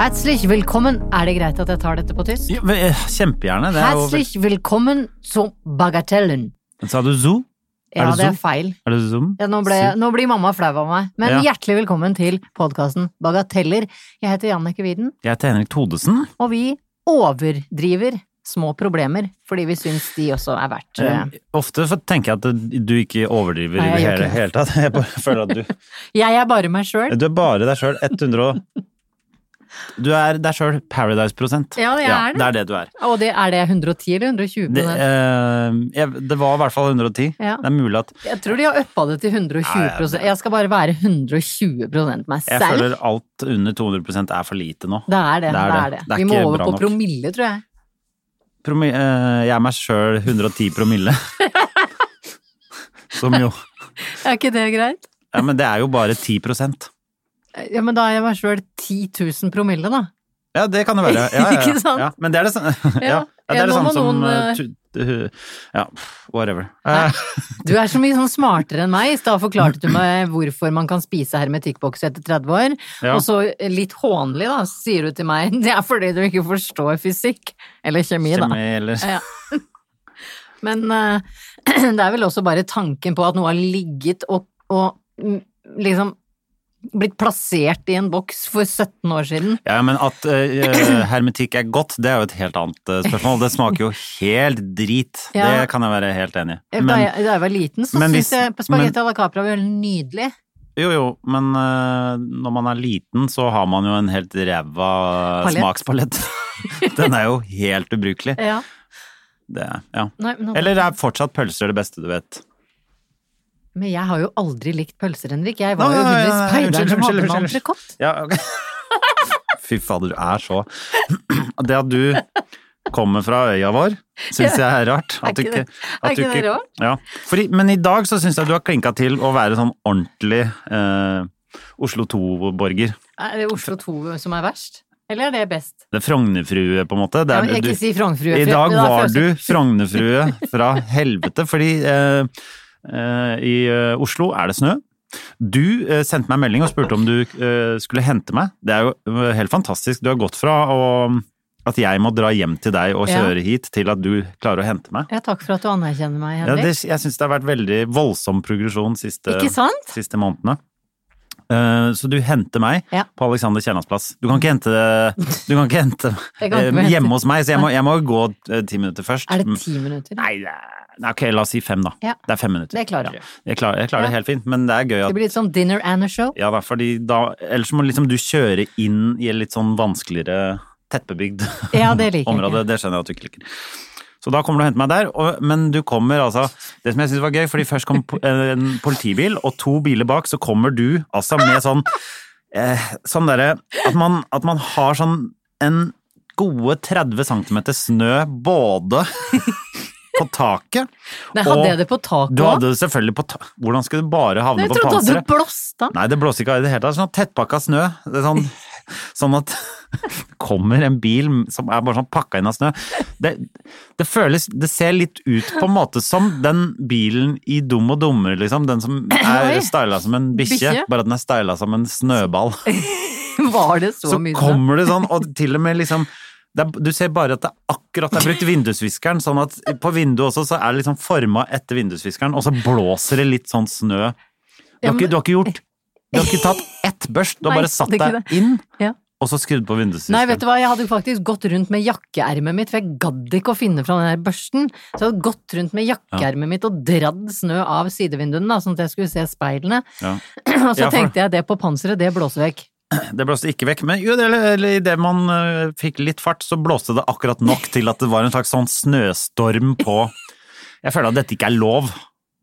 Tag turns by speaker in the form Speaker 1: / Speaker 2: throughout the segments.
Speaker 1: Herzlich willkommen. Er det greit at jeg tar dette på tysk?
Speaker 2: Ja, men, eh, kjempegjerne. Det er jo
Speaker 1: Herzlich willkommen zu Bagatellen.
Speaker 2: vel- Sa du zoo? Er
Speaker 1: Ja,
Speaker 2: det
Speaker 1: det er
Speaker 2: Zoom?
Speaker 1: feil.
Speaker 2: Er det zoom?
Speaker 1: Ja, nå, ble, nå blir mamma flau av meg. Men
Speaker 2: Ja.
Speaker 1: hjertelig velkommen til podkasten Bagateller. Jeg heter Jannicke Widen,
Speaker 2: Jeg heter Henrik Thodesen.
Speaker 1: og vi overdriver små problemer fordi vi syns de også er verdt eh,
Speaker 2: Eh, Ofte så tenker jeg at eh, du ikke overdriver
Speaker 1: Nei,
Speaker 2: i
Speaker 1: jeg gjør
Speaker 2: det hele,
Speaker 1: ikke
Speaker 2: hele tatt. Jeg bare føler at du
Speaker 1: Jeg er bare meg sjøl.
Speaker 2: Du er bare deg sjøl. 100 og Du er deg sjøl Paradise-prosent.
Speaker 1: Ja, jeg er det.
Speaker 2: Det er det du er.
Speaker 1: Og det, er det 110 eller 120
Speaker 2: Det,
Speaker 1: prosent?
Speaker 2: eh, jeg, det var i hvert fall 110.
Speaker 1: Ja.
Speaker 2: Det er mulig at
Speaker 1: Jeg tror de har uppa det til 120
Speaker 2: Nei,
Speaker 1: prosent. Jeg skal bare være 120 prosent meg
Speaker 2: jeg
Speaker 1: selv.
Speaker 2: føler alt under 200 er for lite nå.
Speaker 1: Det er det.
Speaker 2: Det er
Speaker 1: det, er
Speaker 2: det.
Speaker 1: det.
Speaker 2: Det er
Speaker 1: Vi må
Speaker 2: ikke
Speaker 1: over
Speaker 2: bra
Speaker 1: på
Speaker 2: nok.
Speaker 1: promille, tror jeg.
Speaker 2: Promi eh, jeg er meg sjøl 110 promille. Som jo
Speaker 1: Er ikke det greit?
Speaker 2: Ja, men det er jo bare 10
Speaker 1: Ja, men da er jeg meg sjøl 10 000 promille, da.
Speaker 2: Ja, det kan det være. Ja, ja, ja.
Speaker 1: Ikke sant?
Speaker 2: Ja, men det er det samme ja, ja, det
Speaker 1: Ja,
Speaker 2: er
Speaker 1: nå
Speaker 2: det
Speaker 1: må
Speaker 2: samme som
Speaker 1: noen,
Speaker 2: eh, tu- tu- Ja, whatever. Eh,
Speaker 1: Du er så mye sånn smartere enn meg. I stad forklarte du meg hvorfor man kan spise hermetikkbokse etter 30 år.
Speaker 2: Ja.
Speaker 1: Og så litt hånlig, da, så sier du til meg det er fordi du ikke forstår fysikk. Eller kjemi, da.
Speaker 2: kjemi eller
Speaker 1: Ja. Men eh, det er vel også bare tanken på at noe har ligget og, og mm, liksom blitt plassert i en boks for 17 år siden.
Speaker 2: Ja, men at eh, hermetikk er godt, det er jo et helt annet eh, spørsmål. Det smaker jo helt drit.
Speaker 1: Ja.
Speaker 2: Det kan jeg være helt enig i.
Speaker 1: Eh, da,
Speaker 2: Men,
Speaker 1: jeg, da jeg var liten, så
Speaker 2: men
Speaker 1: syntes
Speaker 2: hvis-
Speaker 1: jeg spagetti à la Capra var veldig nydelig.
Speaker 2: jo, jo, men eh, når man er liten, så har man jo en helt ræva
Speaker 1: Palett.
Speaker 2: smakspalett. Den er jo helt ubrukelig.
Speaker 1: Ja.
Speaker 2: Det, er- ja.
Speaker 1: Nei, men,
Speaker 2: Eller er fortsatt pølser det beste du vet?
Speaker 1: men jeg har jo aldri likt pølser, Henrik. Jeg var jo
Speaker 2: Nei, nei, nei,
Speaker 1: hun i
Speaker 2: nei, unnskyld,
Speaker 1: speideren som
Speaker 2: unnskyld,
Speaker 1: hadde med
Speaker 2: unnskyld,
Speaker 1: entrecôte.
Speaker 2: Ja, ok. Fy fader, du er så Det at du kommer fra øya vår, syns jeg er rart.
Speaker 1: Er ikke det- er ikke det rart?
Speaker 2: Ja. Fordi, men i dag så syns jeg du har klinka til å være sånn ordentlig eh, Oslo 2-borger.
Speaker 1: Er det Oslo 2 som er verst? Eller er det best?
Speaker 2: Det er Frognerfrue, på en måte.
Speaker 1: Ja,
Speaker 2: Det er
Speaker 1: men
Speaker 2: det
Speaker 1: jeg
Speaker 2: du-
Speaker 1: ikke si Frognerfrue,
Speaker 2: I
Speaker 1: for
Speaker 2: dag
Speaker 1: det er
Speaker 2: var
Speaker 1: følelsen.
Speaker 2: du Frognerfrue fra helvete, fordi eh, eh, i eh, Oslo er det snø. Du eh, sendte meg en melding og spurte om du eh, skulle hente meg. Det er jo eh, helt fantastisk. Du har gått fra å, at jeg må dra hjem til deg og
Speaker 1: Ja.
Speaker 2: kjøre hit, til at du klarer å hente meg.
Speaker 1: Ja, takk for at du anerkjenner meg,
Speaker 2: Ja, det,
Speaker 1: Henrik.
Speaker 2: jeg syns det har vært veldig voldsom progresjon siste,
Speaker 1: Ikke sant?
Speaker 2: siste månedene. Eh, Så du henter meg
Speaker 1: Ja.
Speaker 2: på Alexander Kiellands plass. Du kan ikke hente, du kan ikke hente
Speaker 1: Jeg kan ikke
Speaker 2: eh,
Speaker 1: hente.
Speaker 2: hjemme hos meg, så jeg må, jeg må gå eh, ti minutter først.
Speaker 1: Er det ti minutter?
Speaker 2: Nei, det er- nei, ok, la oss si fem, da.
Speaker 1: Ja.
Speaker 2: Det er fem minutter.
Speaker 1: Det klarer du.
Speaker 2: Ja. Jeg klarer, jeg klarer
Speaker 1: Ja.
Speaker 2: det helt fint, men det er gøy
Speaker 1: Det
Speaker 2: at
Speaker 1: blir litt sånn dinner and a show.
Speaker 2: ja da, fordi da, Ellers må liksom du kjøre inn i en litt sånn vanskeligere tettbebygd
Speaker 1: Ja, det liker jeg
Speaker 2: område.
Speaker 1: ikke.
Speaker 2: Det skjønner jeg at du ikke liker. Så da kommer du og henter meg der, og, men du kommer altså Det som jeg syns var gøy, fordi først kom po- eh, en politibil, og to biler bak, så kommer du altså med sånn eh, Sånn derre at, man- at man har sånn en gode 30 cm snø både på taket
Speaker 1: Nei, hadde
Speaker 2: og-
Speaker 1: jeg det på taket
Speaker 2: du
Speaker 1: òg?
Speaker 2: hadde det selvfølgelig på ta Hvordan skulle du bare havne
Speaker 1: Jeg
Speaker 2: på
Speaker 1: trodde at
Speaker 2: panseret?
Speaker 1: du blåste av.
Speaker 2: Nei, det blåser ikke av i det hele tatt. Sånn tettpakka snø. Det er sånn, sånn at det kommer en bil som er bare sånn pakka inn av snø. Det, det føles Det ser litt ut på en måte som den bilen i Dum og dummere, liksom. Den som er
Speaker 1: Oi.
Speaker 2: styla som en bikkje,
Speaker 1: Bikkje?
Speaker 2: bare at den er styla som en snøball.
Speaker 1: Var det så,
Speaker 2: Så
Speaker 1: mye? snø?
Speaker 2: kommer det sånn, og til og med liksom det er, du ser bare at det er akkurat det er brukt vindusviskeren, sånn at på vinduet også så er det liksom forma etter vindusviskeren, og så blåser det litt sånn snø. Du
Speaker 1: Ja,
Speaker 2: har,
Speaker 1: men-
Speaker 2: ikke, du har ikke gjort Du har ikke tatt ett børst, du har
Speaker 1: Nei,
Speaker 2: bare satt
Speaker 1: det er
Speaker 2: deg
Speaker 1: ikke
Speaker 2: inn,
Speaker 1: Ja.
Speaker 2: og så skrudd på
Speaker 1: Nei, vet du
Speaker 2: vindusviskeren.
Speaker 1: hva, jeg hadde faktisk gått rundt med jakkeermet mitt, for jeg gadd ikke å finne fra den der børsten. Så jeg hadde gått rundt med jakkeermet mitt og dradd snø av sidevinduene, da, sånn at jeg skulle se speilene.
Speaker 2: Ja.
Speaker 1: Og så
Speaker 2: Ja, for-
Speaker 1: tenkte jeg det på panseret, det blåser vekk.
Speaker 2: Det blåste ikke vekk, men jo, det, eller, i det man eh, fikk litt fart, så blåste det akkurat nok til at det var en slags sånn snøstorm på Jeg føler at dette ikke er lov.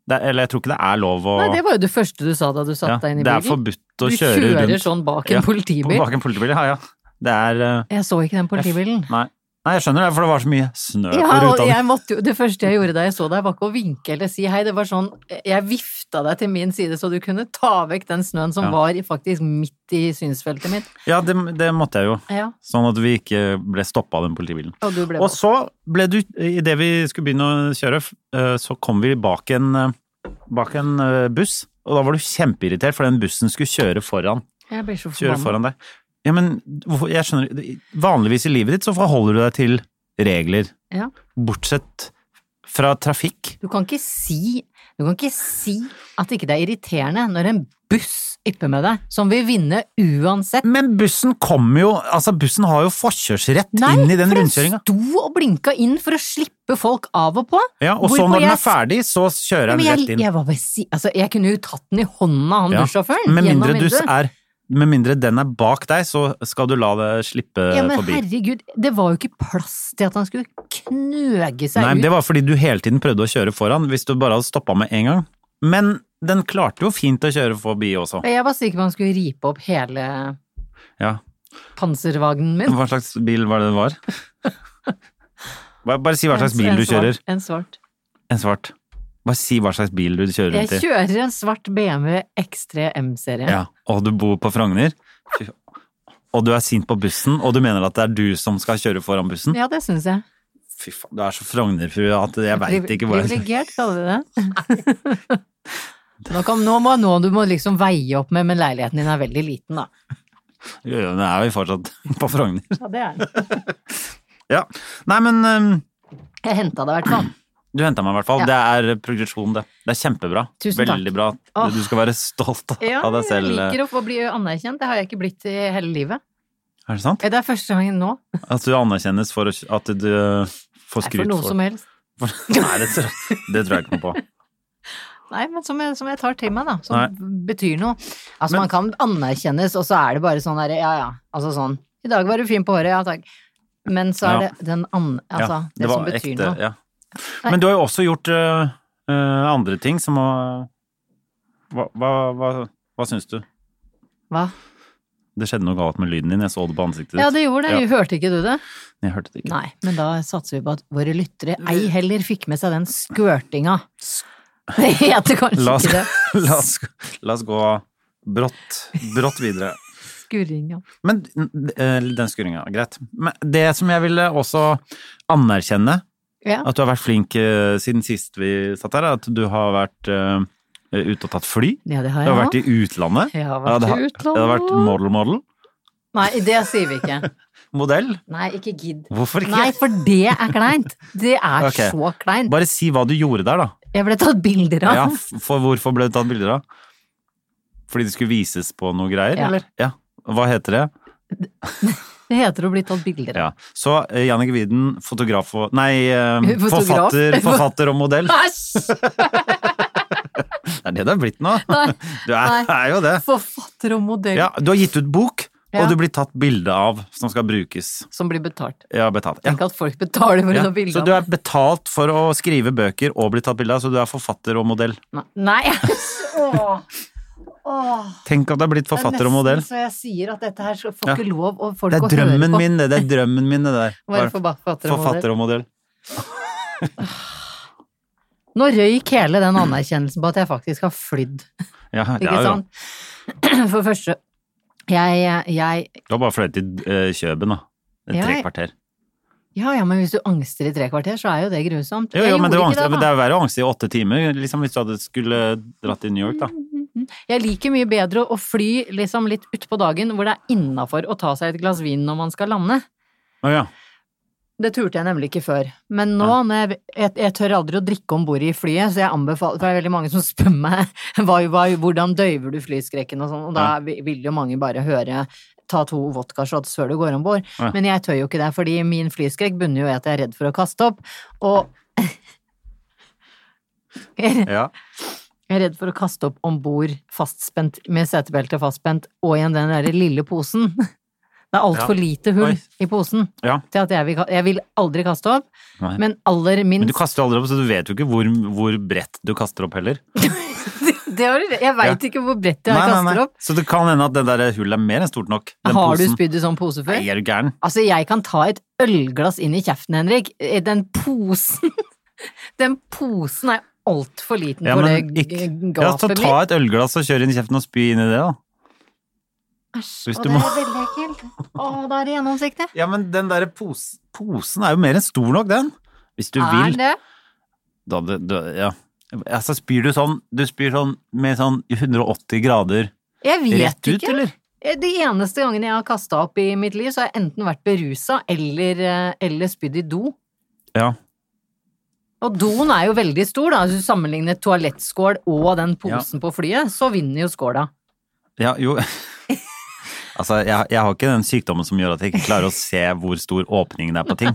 Speaker 2: Det, eller jeg tror ikke det er lov å
Speaker 1: Nei, det var jo det første du sa da du satte
Speaker 2: Ja,
Speaker 1: deg inn i
Speaker 2: Det er
Speaker 1: bilen.
Speaker 2: forbudt å
Speaker 1: du
Speaker 2: kjøre
Speaker 1: kjører
Speaker 2: rundt
Speaker 1: sånn bak en
Speaker 2: Ja,
Speaker 1: politibil.
Speaker 2: Bak en politibil, ja, ja. Det er eh,
Speaker 1: Jeg så ikke den politibilen.
Speaker 2: Nei. Nei, jeg skjønner det, for det var så mye snø
Speaker 1: Ja,
Speaker 2: på
Speaker 1: og
Speaker 2: ruta.
Speaker 1: jeg måtte jo, det første jeg gjorde da jeg så deg, var ikke å vinke eller si hei. Det var sånn, jeg vifta deg til min side så du kunne ta vekk den snøen som
Speaker 2: Ja.
Speaker 1: var i- faktisk midt i synsfeltet mitt.
Speaker 2: Ja, det, det måtte jeg jo.
Speaker 1: Ja,
Speaker 2: Sånn at vi ikke ble stoppa av den politibilen.
Speaker 1: og du ble
Speaker 2: Og så ble du, idet vi skulle begynne å kjøre, f- eh, så kom vi bak en, eh, bak en eh, buss. Og da var du kjempeirritert, for den bussen skulle kjøre foran,
Speaker 1: Jeg blir så
Speaker 2: kjøre
Speaker 1: forbanna.
Speaker 2: foran deg. Ja, men hvorfor- jeg skjønner Vanligvis i livet ditt så forholder du deg til regler.
Speaker 1: Ja.
Speaker 2: Bortsett fra trafikk.
Speaker 1: Du kan ikke si du kan ikke si at ikke det er irriterende når en buss ypper med deg, som vil vinne uansett.
Speaker 2: Men bussen kommer jo Altså, bussen har jo forkjørsrett
Speaker 1: Nei,
Speaker 2: inn i den
Speaker 1: for den
Speaker 2: rundkjøringa.
Speaker 1: sto og blinka inn for å slippe folk av og på.
Speaker 2: Ja, og så
Speaker 1: Hvorpå
Speaker 2: når den er
Speaker 1: jeg-
Speaker 2: ferdig, så
Speaker 1: Ja,
Speaker 2: kjører den
Speaker 1: men
Speaker 2: rett
Speaker 1: jeg,
Speaker 2: inn.
Speaker 1: jeg, var bare si, altså, jeg kunne jo tatt den i hånda, han
Speaker 2: Ja,
Speaker 1: bussjåføren.
Speaker 2: Med
Speaker 1: gjennom
Speaker 2: mindre, du
Speaker 1: vinduet.
Speaker 2: er, med mindre den er bak deg, så skal du la det slippe
Speaker 1: Ja, men
Speaker 2: eh, forbi.
Speaker 1: herregud, det var jo ikke plass til at han skulle knøge seg
Speaker 2: Nei, men
Speaker 1: ut.
Speaker 2: det var fordi du hele tiden prøvde å kjøre foran, hvis du bare hadde stoppa med en gang. Men den klarte jo fint å kjøre forbi også.
Speaker 1: Jeg var sikker på at han skulle ripe opp hele
Speaker 2: Ja.
Speaker 1: panservognen min.
Speaker 2: Hva slags bil var det det var? Bare bare si hva slags bil
Speaker 1: En-
Speaker 2: du
Speaker 1: en svart-
Speaker 2: kjører.
Speaker 1: En svart.
Speaker 2: En svart. Bare si hva slags bil du kjører
Speaker 1: Jeg
Speaker 2: rundt i.
Speaker 1: kjører en svart BMW X3 M-serie.
Speaker 2: Ja. Og du bor på Frogner, Fy- og du er sint på bussen, og du mener at det er du som skal kjøre foran bussen.
Speaker 1: Ja, det syns jeg.
Speaker 2: Fy faen, du er så Frogner-frue at jeg veit ikke hva jeg skal
Speaker 1: Privilegert, kaller vi det. Nå, kan, nå må nå du må liksom veie opp med, men leiligheten din er veldig liten, da.
Speaker 2: Jo, jo, nå er vi fortsatt på Frogner.
Speaker 1: Ja, det er den.
Speaker 2: Ja. Nei, men øhm,
Speaker 1: Jeg henta det i hvert fall.
Speaker 2: du henta meg i hvert fall.
Speaker 1: Ja.
Speaker 2: Det er progresjon, det. Det er kjempebra.
Speaker 1: Tusen takk.
Speaker 2: Veldig bra.
Speaker 1: Åh.
Speaker 2: Du skal være stolt
Speaker 1: Ja,
Speaker 2: av deg
Speaker 1: jeg
Speaker 2: selv. eh.
Speaker 1: liker å få bli anerkjent. Det har jeg ikke blitt i hele livet.
Speaker 2: øh. Er det sant?
Speaker 1: Det er første gangen nå.
Speaker 2: At du anerkjennes for å- at du øh, får
Speaker 1: Nei,
Speaker 2: skryt
Speaker 1: for noe
Speaker 2: for
Speaker 1: som helst.
Speaker 2: Nei, det tror, det tror jeg ikke noe på.
Speaker 1: Nei, men som jeg, som jeg tar til meg, da. Som
Speaker 2: Nei.
Speaker 1: betyr noe. Altså,
Speaker 2: Men-
Speaker 1: man kan anerkjennes, og så er det bare sånn derre, ja ja. Altså sånn I dag var du fin på håret, ja takk. Men så er
Speaker 2: Ja.
Speaker 1: det den an...
Speaker 2: Ja,
Speaker 1: Altså, det, som
Speaker 2: var
Speaker 1: betyr
Speaker 2: ekte,
Speaker 1: noe.
Speaker 2: ja. Men du har jo også gjort øh, øh, andre ting som å Hva, hva, hva, hva syns du?
Speaker 1: Hva?
Speaker 2: Det skjedde noe galt med lyden din. Jeg så det på ansiktet ditt.
Speaker 1: Ja, det gjorde det. Hørte ikke du det?
Speaker 2: Jeg hørte det ikke.
Speaker 1: Nei, men da satser vi på at våre lyttere ei heller fikk med seg den skørtinga. Det heter kanskje
Speaker 2: La oss,
Speaker 1: ikke det.
Speaker 2: la oss, la oss gå brått, brått videre.
Speaker 1: Skurringa.
Speaker 2: Men eh, den skurringa, greit. Men det som jeg ville også anerkjenne,
Speaker 1: Ja.
Speaker 2: at du har vært flink eh, siden sist vi satt her, er at du har vært eh, ute og tatt fly.
Speaker 1: ja, det
Speaker 2: Du
Speaker 1: har
Speaker 2: har
Speaker 1: jeg
Speaker 2: vært i utlandet.
Speaker 1: Jeg har
Speaker 2: Ja,
Speaker 1: vært
Speaker 2: det har-
Speaker 1: i
Speaker 2: Det har vært
Speaker 1: utlandet.
Speaker 2: model, model,
Speaker 1: Nei, det sier vi ikke.
Speaker 2: modell.
Speaker 1: Nei, ikke gidd.
Speaker 2: Hvorfor ikke?
Speaker 1: Nei, for det er kleint. Det er
Speaker 2: Ok.
Speaker 1: så kleint.
Speaker 2: Bare si hva du gjorde der, da.
Speaker 1: Jeg ble tatt bilder av.
Speaker 2: Ja, for hvorfor ble det tatt bilder av? Fordi det skulle vises på noe greier,
Speaker 1: Ja.
Speaker 2: eller? Ja. Hva heter det?
Speaker 1: Det heter å bli tatt bilder av.
Speaker 2: Ja. Så eh, Jannicke Widen, fotograf og Nei, eh,
Speaker 1: Fotograf.
Speaker 2: forfatter, forfatter og modell.
Speaker 1: Æsj!
Speaker 2: Det er det det er blitt nå.
Speaker 1: Nei.
Speaker 2: Du er,
Speaker 1: Nei.
Speaker 2: er jo det.
Speaker 1: Forfatter og modell
Speaker 2: Ja, du har gitt ut bok,
Speaker 1: Ja.
Speaker 2: og du blir tatt bilde av som skal brukes.
Speaker 1: som blir betalt.
Speaker 2: Ja, betalt. Ja.
Speaker 1: Tenk at folk betaler for å
Speaker 2: Ja.
Speaker 1: ta bilder
Speaker 2: Så
Speaker 1: av
Speaker 2: du er betalt for å skrive bøker og bli tatt bilde av, så du er forfatter og modell.
Speaker 1: meg. Nei, æsj! Åh. Åh.
Speaker 2: Tenk at du er blitt
Speaker 1: Det er
Speaker 2: forfatter og modell.
Speaker 1: nesten Så jeg sier at dette her skal- får
Speaker 2: Ja.
Speaker 1: ikke lov og folk
Speaker 2: Det er
Speaker 1: å høre
Speaker 2: drømmen
Speaker 1: på.
Speaker 2: min, det. Det er drømmen min, det der.
Speaker 1: Å være
Speaker 2: Bare
Speaker 1: forfatter og modell.
Speaker 2: Forfatter og modell.
Speaker 1: Nå røyk hele den anerkjennelsen på at jeg faktisk har flydd.
Speaker 2: Ja,
Speaker 1: Ikke
Speaker 2: ja, ja.
Speaker 1: sant? For det første, jeg, jeg
Speaker 2: Du har bare fløyet til eh, Kjøben, da. Et
Speaker 1: Ja,
Speaker 2: tre
Speaker 1: jeg-
Speaker 2: kvarter.
Speaker 1: Ja, ja, men hvis du angster i tre kvarter, så er jo det grusomt.
Speaker 2: Jo,
Speaker 1: Jeg
Speaker 2: jo, men det,
Speaker 1: gjorde
Speaker 2: var
Speaker 1: ikke
Speaker 2: angst, men det
Speaker 1: da.
Speaker 2: er jo verre å angste i åtte timer, liksom hvis du hadde skulle dratt til New York, da.
Speaker 1: Jeg liker mye bedre å fly liksom litt utpå dagen hvor det er innafor å ta seg et glass vin når man skal lande.
Speaker 2: Å ja.
Speaker 1: Det turte jeg nemlig ikke før. Men nå, når jeg, jeg, jeg tør aldri å drikke om bord i flyet, så jeg anbefaler For det er veldig mange som spør meg hva, hva, hvordan døyver du flyskrekken og sånn, og da vi- vil jo mange bare høre ta to vodkashots før du går om bord.
Speaker 2: Ja.
Speaker 1: Men jeg tør jo ikke det, fordi min flyskrekk bunner jo i at jeg er redd for å kaste opp. Og
Speaker 2: ja.
Speaker 1: Jeg er redd for å kaste opp om bord fastspent, med setebelte fastspent, og igjen den derre lille posen. Det er altfor
Speaker 2: Ja.
Speaker 1: lite hull
Speaker 2: Oi.
Speaker 1: i posen
Speaker 2: Ja.
Speaker 1: til at jeg vil, ka- jeg vil aldri kaste opp,
Speaker 2: Nei.
Speaker 1: men aller
Speaker 2: Men du
Speaker 1: minst
Speaker 2: kaster jo aldri opp, så du vet jo ikke hvor, hvor bredt du kaster opp heller.
Speaker 1: Det har du- Jeg veit ikke hvor bredt jeg kaster opp.
Speaker 2: Så det kan hende at det der hullet er mer enn stort nok. Den
Speaker 1: Har du
Speaker 2: posen.
Speaker 1: spydd i sånn pose før?
Speaker 2: Nei, er du gæren?
Speaker 1: Altså, jeg kan ta et ølglass inn i kjeften, Henrik. Eh, Den posen Den posen er altfor liten
Speaker 2: Ja,
Speaker 1: for det
Speaker 2: men
Speaker 1: g-
Speaker 2: ikke- Ja, så
Speaker 1: gapet
Speaker 2: ta et ølglass og kjør inn i kjeften og spy inn i det, da.
Speaker 1: Æsj,
Speaker 2: hvis
Speaker 1: og
Speaker 2: du
Speaker 1: det
Speaker 2: må.
Speaker 1: er veldig ekkelt. Å, da er det gjennomsiktig.
Speaker 2: Ja, men den derre pos posen er jo mer enn stor nok, den. Hvis du
Speaker 1: Er
Speaker 2: vil.
Speaker 1: det?
Speaker 2: Da, da, da, ja. Altså, spyr du sånn Du spyr sånn med sånn 180 grader
Speaker 1: Jeg vet
Speaker 2: rett ut,
Speaker 1: ikke.
Speaker 2: eller?
Speaker 1: Eh, De eneste gangene jeg har kasta opp i mitt liv, så har jeg enten vært berusa eller, eh, eller spydd i do.
Speaker 2: Ja.
Speaker 1: Og doen er jo veldig stor, da. Hvis du sammenligner toalettskål og den posen på flyet, så vinner jo skåla.
Speaker 2: ja jo. Altså, jeg, jeg har ikke den sykdommen som gjør at jeg ikke klarer å se hvor stor åpningen er på ting.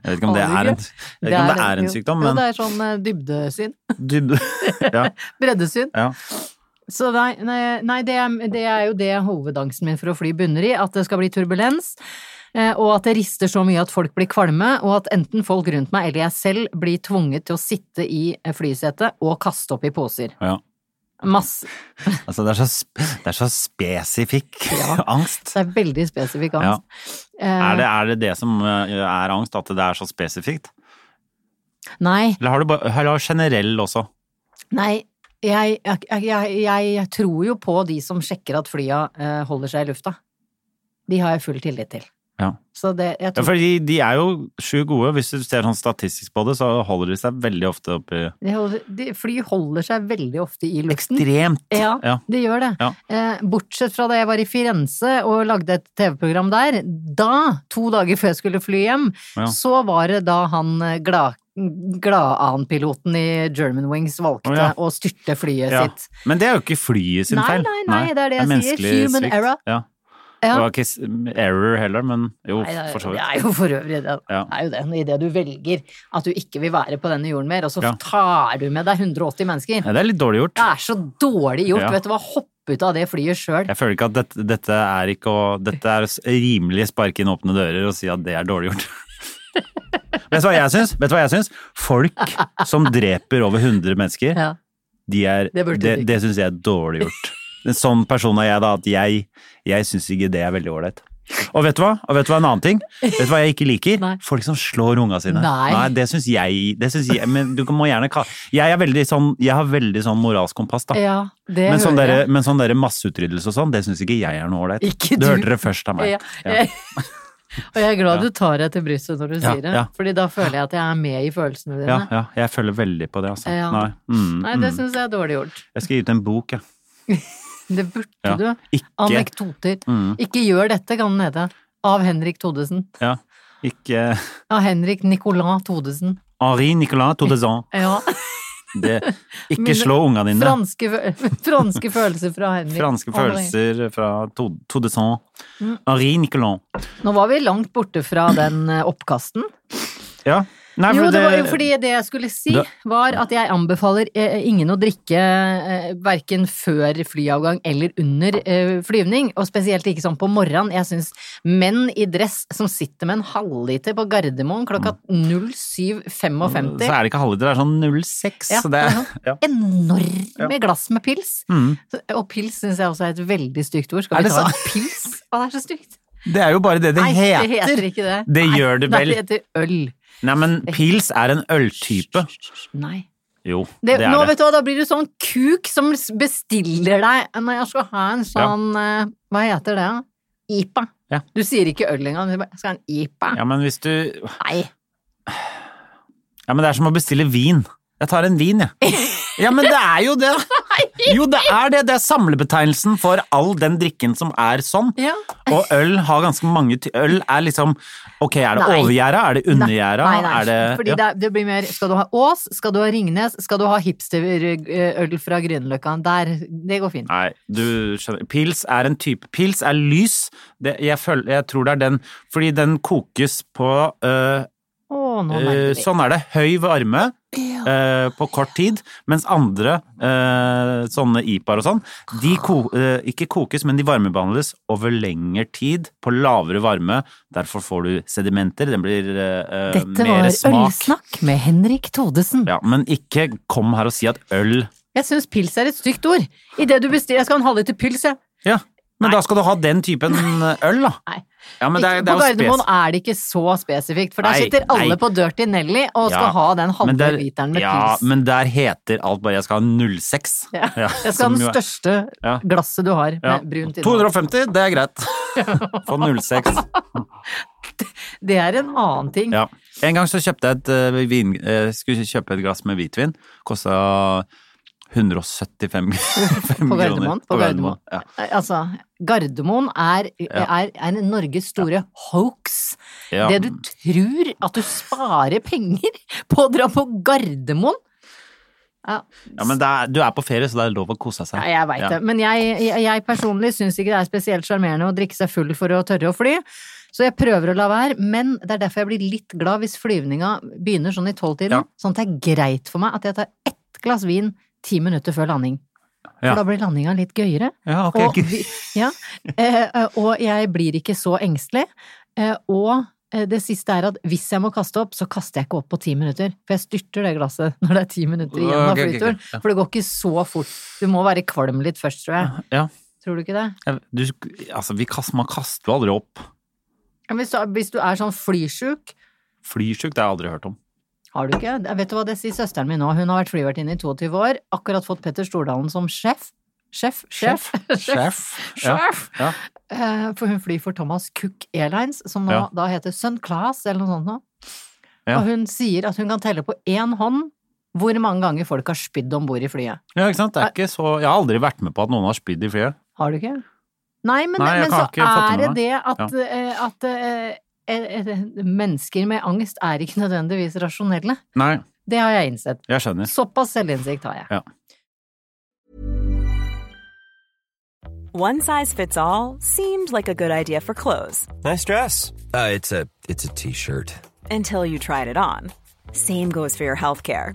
Speaker 2: Jeg vet ikke om det
Speaker 1: Aner
Speaker 2: er en,
Speaker 1: ikke.
Speaker 2: jeg vet ikke om det er en
Speaker 1: Jo,
Speaker 2: sykdom, men
Speaker 1: det er sånn eh, dybdesyn.
Speaker 2: du, ja,
Speaker 1: Breddesyn.
Speaker 2: ja.
Speaker 1: Så nei, nei, nei det, er, det er jo det hovedangsten min for å fly bunner i, at det skal bli turbulens, eh, og at det rister så mye at folk blir kvalme, og at enten folk rundt meg eller jeg selv blir tvunget til å sitte i eh, flysetet og kaste opp i poser.
Speaker 2: ja.
Speaker 1: Masse.
Speaker 2: Altså, det er så, sp- det er så spesifikk angst.
Speaker 1: Det er veldig spesifikk angst.
Speaker 2: Er det, er det det som eh, er angst, at det er så spesifikt?
Speaker 1: Eh, Nei,
Speaker 2: Eller har du bare har du generell også?
Speaker 1: nei. Jeg, jeg, jeg, jeg tror jo på de som sjekker at flya eh, holder seg i lufta. De har jeg full tillit til.
Speaker 2: Ja.
Speaker 1: Så det, jeg
Speaker 2: Ja,
Speaker 1: tror,
Speaker 2: for de, de er jo sju gode. Hvis du ser sånn statistisk på det, så holder de seg veldig ofte oppi
Speaker 1: de holder, de, fly holder seg veldig ofte i luften.
Speaker 2: Ekstremt!
Speaker 1: Ja,
Speaker 2: Ja.
Speaker 1: det gjør det.
Speaker 2: Ja.
Speaker 1: Eh, bortsett fra da jeg var i Firenze og lagde et TV-program der, da, to dager før jeg skulle fly hjem,
Speaker 2: Ja.
Speaker 1: så var det da han eh, glad Gladan-piloten i Germanwings valgte
Speaker 2: Å, ja.
Speaker 1: å styrte flyet
Speaker 2: Ja.
Speaker 1: sitt.
Speaker 2: Men det er jo ikke flyet sin
Speaker 1: Nei,
Speaker 2: feil.
Speaker 1: nei, nei, det er det jeg sier.
Speaker 2: menneskelig
Speaker 1: Human
Speaker 2: svikt.
Speaker 1: error.
Speaker 2: Ja.
Speaker 1: Ja.
Speaker 2: Det var ikke s- error heller, men jo,
Speaker 1: Nei, det er-
Speaker 2: for så
Speaker 1: Det
Speaker 2: vidt.
Speaker 1: er jo for øvrig det.
Speaker 2: Ja.
Speaker 1: Det er jo det. Idet du velger at du ikke vil være på denne jorden mer, og så
Speaker 2: Ja.
Speaker 1: tar du med deg 180 mennesker.
Speaker 2: Ja, det er litt dårlig gjort.
Speaker 1: Det er så dårlig gjort.
Speaker 2: Ja.
Speaker 1: Vet du hva, hopp ut av det flyet sjøl.
Speaker 2: Jeg føler ikke at dette, dette er ikke å Dette er s- rimelig spark inn åpne dører og si at det er dårlig gjort. Vet du hva jeg syns? Vet du hva jeg syns? Folk som dreper over 100 mennesker,
Speaker 1: Ja.
Speaker 2: de er,
Speaker 1: Det
Speaker 2: det,
Speaker 1: burde
Speaker 2: det,
Speaker 1: du ikke.
Speaker 2: syns jeg er dårlig gjort. En sånn person er jeg, da, at jeg, jeg syns ikke det er veldig åleit. Og vet du hva? Og vet du hva en annen ting? Vet du hva jeg ikke liker?
Speaker 1: Nei.
Speaker 2: Folk som slår unga sine.
Speaker 1: Nei.
Speaker 2: det syns jeg, det synes jeg Men du kan- må gjerne kalle Jeg er veldig sånn Jeg har veldig sånn moralsk kompass, da.
Speaker 1: Ja, det
Speaker 2: Men sånn,
Speaker 1: hører
Speaker 2: derre-
Speaker 1: jeg.
Speaker 2: men sånn derre masseutryddelse og sånn, det syns ikke jeg er noe ålreit.
Speaker 1: Ikke
Speaker 2: Du
Speaker 1: du.
Speaker 2: hørte det først av meg.
Speaker 1: Ja. Og jeg er glad du tar deg til brystet når du
Speaker 2: Ja,
Speaker 1: sier det,
Speaker 2: ja.
Speaker 1: Fordi da føler jeg at jeg er med i følelsene dine.
Speaker 2: ja, ja, jeg føler veldig på det, altså.
Speaker 1: Ja.
Speaker 2: Nei. Mm,
Speaker 1: Nei, det
Speaker 2: mm.
Speaker 1: syns jeg er dårlig gjort.
Speaker 2: Jeg skal gi ut en bok, jeg.
Speaker 1: Det burde
Speaker 2: Ja.
Speaker 1: du.
Speaker 2: Ikke, Mm.
Speaker 1: Anekdoter. Ikke gjør dette, kan den hete. Av Henrik Todesen.
Speaker 2: ja, ikke eh,
Speaker 1: Av Henrik Nicolas Todesen.
Speaker 2: Henri Nicolas Todezan.
Speaker 1: Ja.
Speaker 2: Det,
Speaker 1: Men-
Speaker 2: ikke slå unga dine.
Speaker 1: Franske, fø- franske følelser fra Henrik.
Speaker 2: Franske følelser fra To- Todezan.
Speaker 1: Mm.
Speaker 2: Henri Nicolas.
Speaker 1: Nå var vi langt borte fra den eh, oppkasten.
Speaker 2: Ja. Nei,
Speaker 1: Jo,
Speaker 2: for
Speaker 1: det var jo fordi det jeg skulle si,
Speaker 2: Det-
Speaker 1: var at jeg anbefaler eh, ingen å drikke eh, verken før flyavgang eller under eh, flyvning, og spesielt ikke sånn på morgenen. Jeg syns menn i dress som sitter med en halvliter på Gardermoen klokka 07.55
Speaker 2: Mm. Så er det ikke halvliter, det er sånn 06.
Speaker 1: Ja,
Speaker 2: så det,
Speaker 1: det er
Speaker 2: ja.
Speaker 1: Enorme glass med pils.
Speaker 2: Mm.
Speaker 1: Så- Og pils syns jeg også er et veldig stygt ord.
Speaker 2: Er
Speaker 1: Skal vi
Speaker 2: det
Speaker 1: ta
Speaker 2: sant?
Speaker 1: en pils? Å, det er så stygt.
Speaker 2: det er jo bare det det
Speaker 1: Nei,
Speaker 2: heter.
Speaker 1: det heter ikke det.
Speaker 2: Det
Speaker 1: Nei,
Speaker 2: gjør det
Speaker 1: nei,
Speaker 2: vel.
Speaker 1: Det heter øl.
Speaker 2: Nei, men pils er en øltype.
Speaker 1: Nei.
Speaker 2: Jo,
Speaker 1: Det,
Speaker 2: det, er
Speaker 1: nå,
Speaker 2: det.
Speaker 1: vet du hva, da blir du sånn kuk som s- bestiller deg Når jeg skal ha en sånn eh, Hva heter det? da? IPA.
Speaker 2: Ja.
Speaker 1: Du sier ikke øl engang. du bare, Jeg skal ha en IPA.
Speaker 2: Ja, men hvis du
Speaker 1: Nei.
Speaker 2: Ja, men det er som å bestille vin. Jeg tar en vin, jeg. Ja, men det er jo det! Jo, det er det. Det er samlebetegnelsen for all den drikken som er sånn.
Speaker 1: Ja.
Speaker 2: Og øl har ganske mange ty Øl er liksom Ok, er det
Speaker 1: Nei.
Speaker 2: overgjerda? Er det undergjerda?
Speaker 1: Nei, nei,
Speaker 2: Er det
Speaker 1: fordi
Speaker 2: ja.
Speaker 1: det, er- det blir mer Skal du ha Ås? Skal du ha Ringnes? Skal du ha hipsterøl fra Grünerløkka? Der Det går fint.
Speaker 2: Nei, du skjønner Pils er en type Pils er lys. Det, jeg, føl- jeg tror det er den Fordi den kokes på øh,
Speaker 1: Å, nå
Speaker 2: øh,
Speaker 1: merker vi.
Speaker 2: Eh, Sånn er det. Høy varme. eh, på kort tid, mens andre eh, sånne IPAR og sånn, de ko eh, ikke kokes, men de varmebehandles over lengre tid på lavere varme. Derfor får du sedimenter, den blir eh, eh,
Speaker 1: Dette var
Speaker 2: mer smak.
Speaker 1: Ølsnakk med Henrik Thodesen.
Speaker 2: Ja, men ikke kom her og si at øl
Speaker 1: Jeg syns pils er et stygt ord. I det du bestiller Jeg skal ha en halvliter pils, jeg.
Speaker 2: Ja, men da skal du ha den typen eh, øl, da.
Speaker 1: Nei.
Speaker 2: Ja, men det er, det
Speaker 1: på
Speaker 2: er jo
Speaker 1: Gardermoen
Speaker 2: spes-
Speaker 1: er det ikke så spesifikt, for der
Speaker 2: Nei,
Speaker 1: sitter alle
Speaker 2: nei.
Speaker 1: på Dirty Nelly og skal
Speaker 2: Ja,
Speaker 1: ha den halve
Speaker 2: men der-
Speaker 1: literen med
Speaker 2: ja,
Speaker 1: pils.
Speaker 2: men der heter alt bare 'jeg skal ha 06'.
Speaker 1: Ja. Jeg skal
Speaker 2: som
Speaker 1: ha den
Speaker 2: jo er-
Speaker 1: største
Speaker 2: Ja.
Speaker 1: glasset du har med
Speaker 2: Ja.
Speaker 1: brunt innhold.
Speaker 2: 250, det er greit. Få 06.
Speaker 1: Det er en annen ting.
Speaker 2: Ja. En gang så kjøpte jeg et, eh, vin, eh, skulle jeg kjøpe et glass med hvitvin. Kosta 175
Speaker 1: På
Speaker 2: kroner.
Speaker 1: Gardermoen. På Gardermoen.
Speaker 2: Ja.
Speaker 1: Altså, Gardermoen er, er, er Norges store hoax.
Speaker 2: Ja.
Speaker 1: Det du tror at du sparer penger på å dra på Gardermoen. Ja,
Speaker 2: ja, men det er, du er på ferie, så det er lov å kose seg.
Speaker 1: ja jeg veit
Speaker 2: Ja.
Speaker 1: det. Men jeg, jeg, jeg personlig syns ikke det er spesielt sjarmerende å drikke seg full for å tørre å fly. Så jeg prøver å la være, men det er derfor jeg blir litt glad hvis flyvninga begynner sånn i tolvtiden.
Speaker 2: Ja.
Speaker 1: Sånn at det er greit for meg at jeg tar ett glass vin ti minutter før landing.
Speaker 2: Ja.
Speaker 1: For da blir landinga litt gøyere.
Speaker 2: Ja, ok,
Speaker 1: Og,
Speaker 2: gud.
Speaker 1: vi- ja, eh, eh, og jeg blir ikke så engstelig. Eh, og eh, det siste er at hvis jeg må kaste opp, så kaster jeg ikke opp på ti minutter. For jeg styrter det glasset når det er ti minutter igjen av
Speaker 2: Ok, ok, ok.
Speaker 1: flyturen.
Speaker 2: Ja.
Speaker 1: For det går ikke så fort. Du må være kvalm litt først, tror jeg.
Speaker 2: Ja.
Speaker 1: Tror du ikke det?
Speaker 2: Jeg- Du, sk- altså, vi kast, man kaster jo aldri opp.
Speaker 1: Ja, Hvis du, hvis du er sånn flysjuk
Speaker 2: Flysjuk, det har jeg aldri hørt om.
Speaker 1: har du ikke? Vet du hva det sier søsteren min nå? Hun har vært flyvertinne i 22 år, akkurat fått Petter Stordalen som sjef. Sjef? Sjef?
Speaker 2: Sjef. Ja.
Speaker 1: Sjef!
Speaker 2: Ja.
Speaker 1: Eh, For hun flyr for Thomas Cook Airlines, som nå
Speaker 2: Ja.
Speaker 1: da heter Sunclass, eller noe sånt nå.
Speaker 2: Ja.
Speaker 1: Og hun sier at hun kan telle på én hånd hvor mange ganger folk har spydd om bord i flyet.
Speaker 2: ja, ikke sant. Det er ikke så Jeg har aldri vært med på at noen har spydd i flyet.
Speaker 1: Har du ikke? Nei, men,
Speaker 2: Nei, jeg
Speaker 1: men
Speaker 2: kan
Speaker 1: så
Speaker 2: ikke fatte
Speaker 1: er det
Speaker 2: med meg.
Speaker 1: det at, eh, at eh, eh, eh, mennesker med angst er ikke nødvendigvis rasjonelle.
Speaker 2: Nei,
Speaker 1: Det har jeg innsett.
Speaker 2: jeg skjønner.
Speaker 1: Såpass selvinnsikt har jeg.
Speaker 3: One size fits all seemed like a good idea for clothes
Speaker 4: Nice dress.
Speaker 5: Uh, it's a it's a t-shirt.
Speaker 3: until you tried it on. Same goes for your healthcare.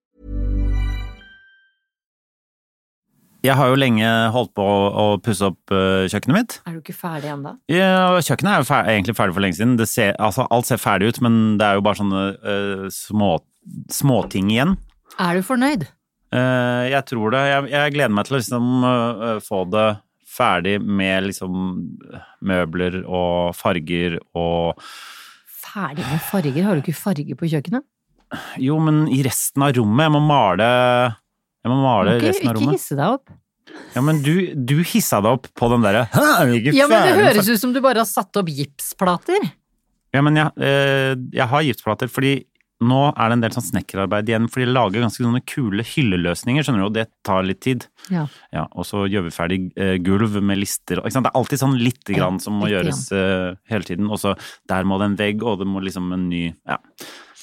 Speaker 2: Jeg har jo lenge holdt på å, å pusse opp eh, kjøkkenet mitt.
Speaker 1: Er du ikke ferdig ennå?
Speaker 2: Ja, kjøkkenet er jo fer egentlig ferdig for lenge siden. Det ser, altså, alt ser ferdig ut, men det er jo bare sånne eh, små småting igjen.
Speaker 1: Er du fornøyd?
Speaker 2: Eh, jeg tror det. Jeg, jeg gleder meg til å liksom, eh, få det ferdig med liksom møbler og farger og
Speaker 1: Ferdig med farger? Har du ikke farger på kjøkkenet?
Speaker 2: Jo, men i resten av rommet. Jeg må male Jeg må
Speaker 1: Du
Speaker 2: male
Speaker 1: må ikke,
Speaker 2: resten av
Speaker 1: ikke
Speaker 2: rommet.
Speaker 1: hisse deg opp.
Speaker 2: Ja, men du, du hissa deg opp på den derre «Hæ, er vi ikke
Speaker 1: Ja, men det
Speaker 2: ferdig med
Speaker 1: høres ut som du bare har satt opp gipsplater.
Speaker 2: Ja, men jeg, eh, jeg har gipsplater, fordi nå er det en del sånn snekkerarbeid igjen. For de lager ganske sånne kule hylleløsninger, skjønner du, og det tar litt tid.
Speaker 1: Ja.
Speaker 2: Ja, og så gjør vi ferdig eh, gulv med lister. og- Ikke sant? Det er alltid sånn lite grann som må
Speaker 1: Lite
Speaker 2: gjøres eh, hele tiden. Og så der må det en vegg, og det må liksom en ny Ja.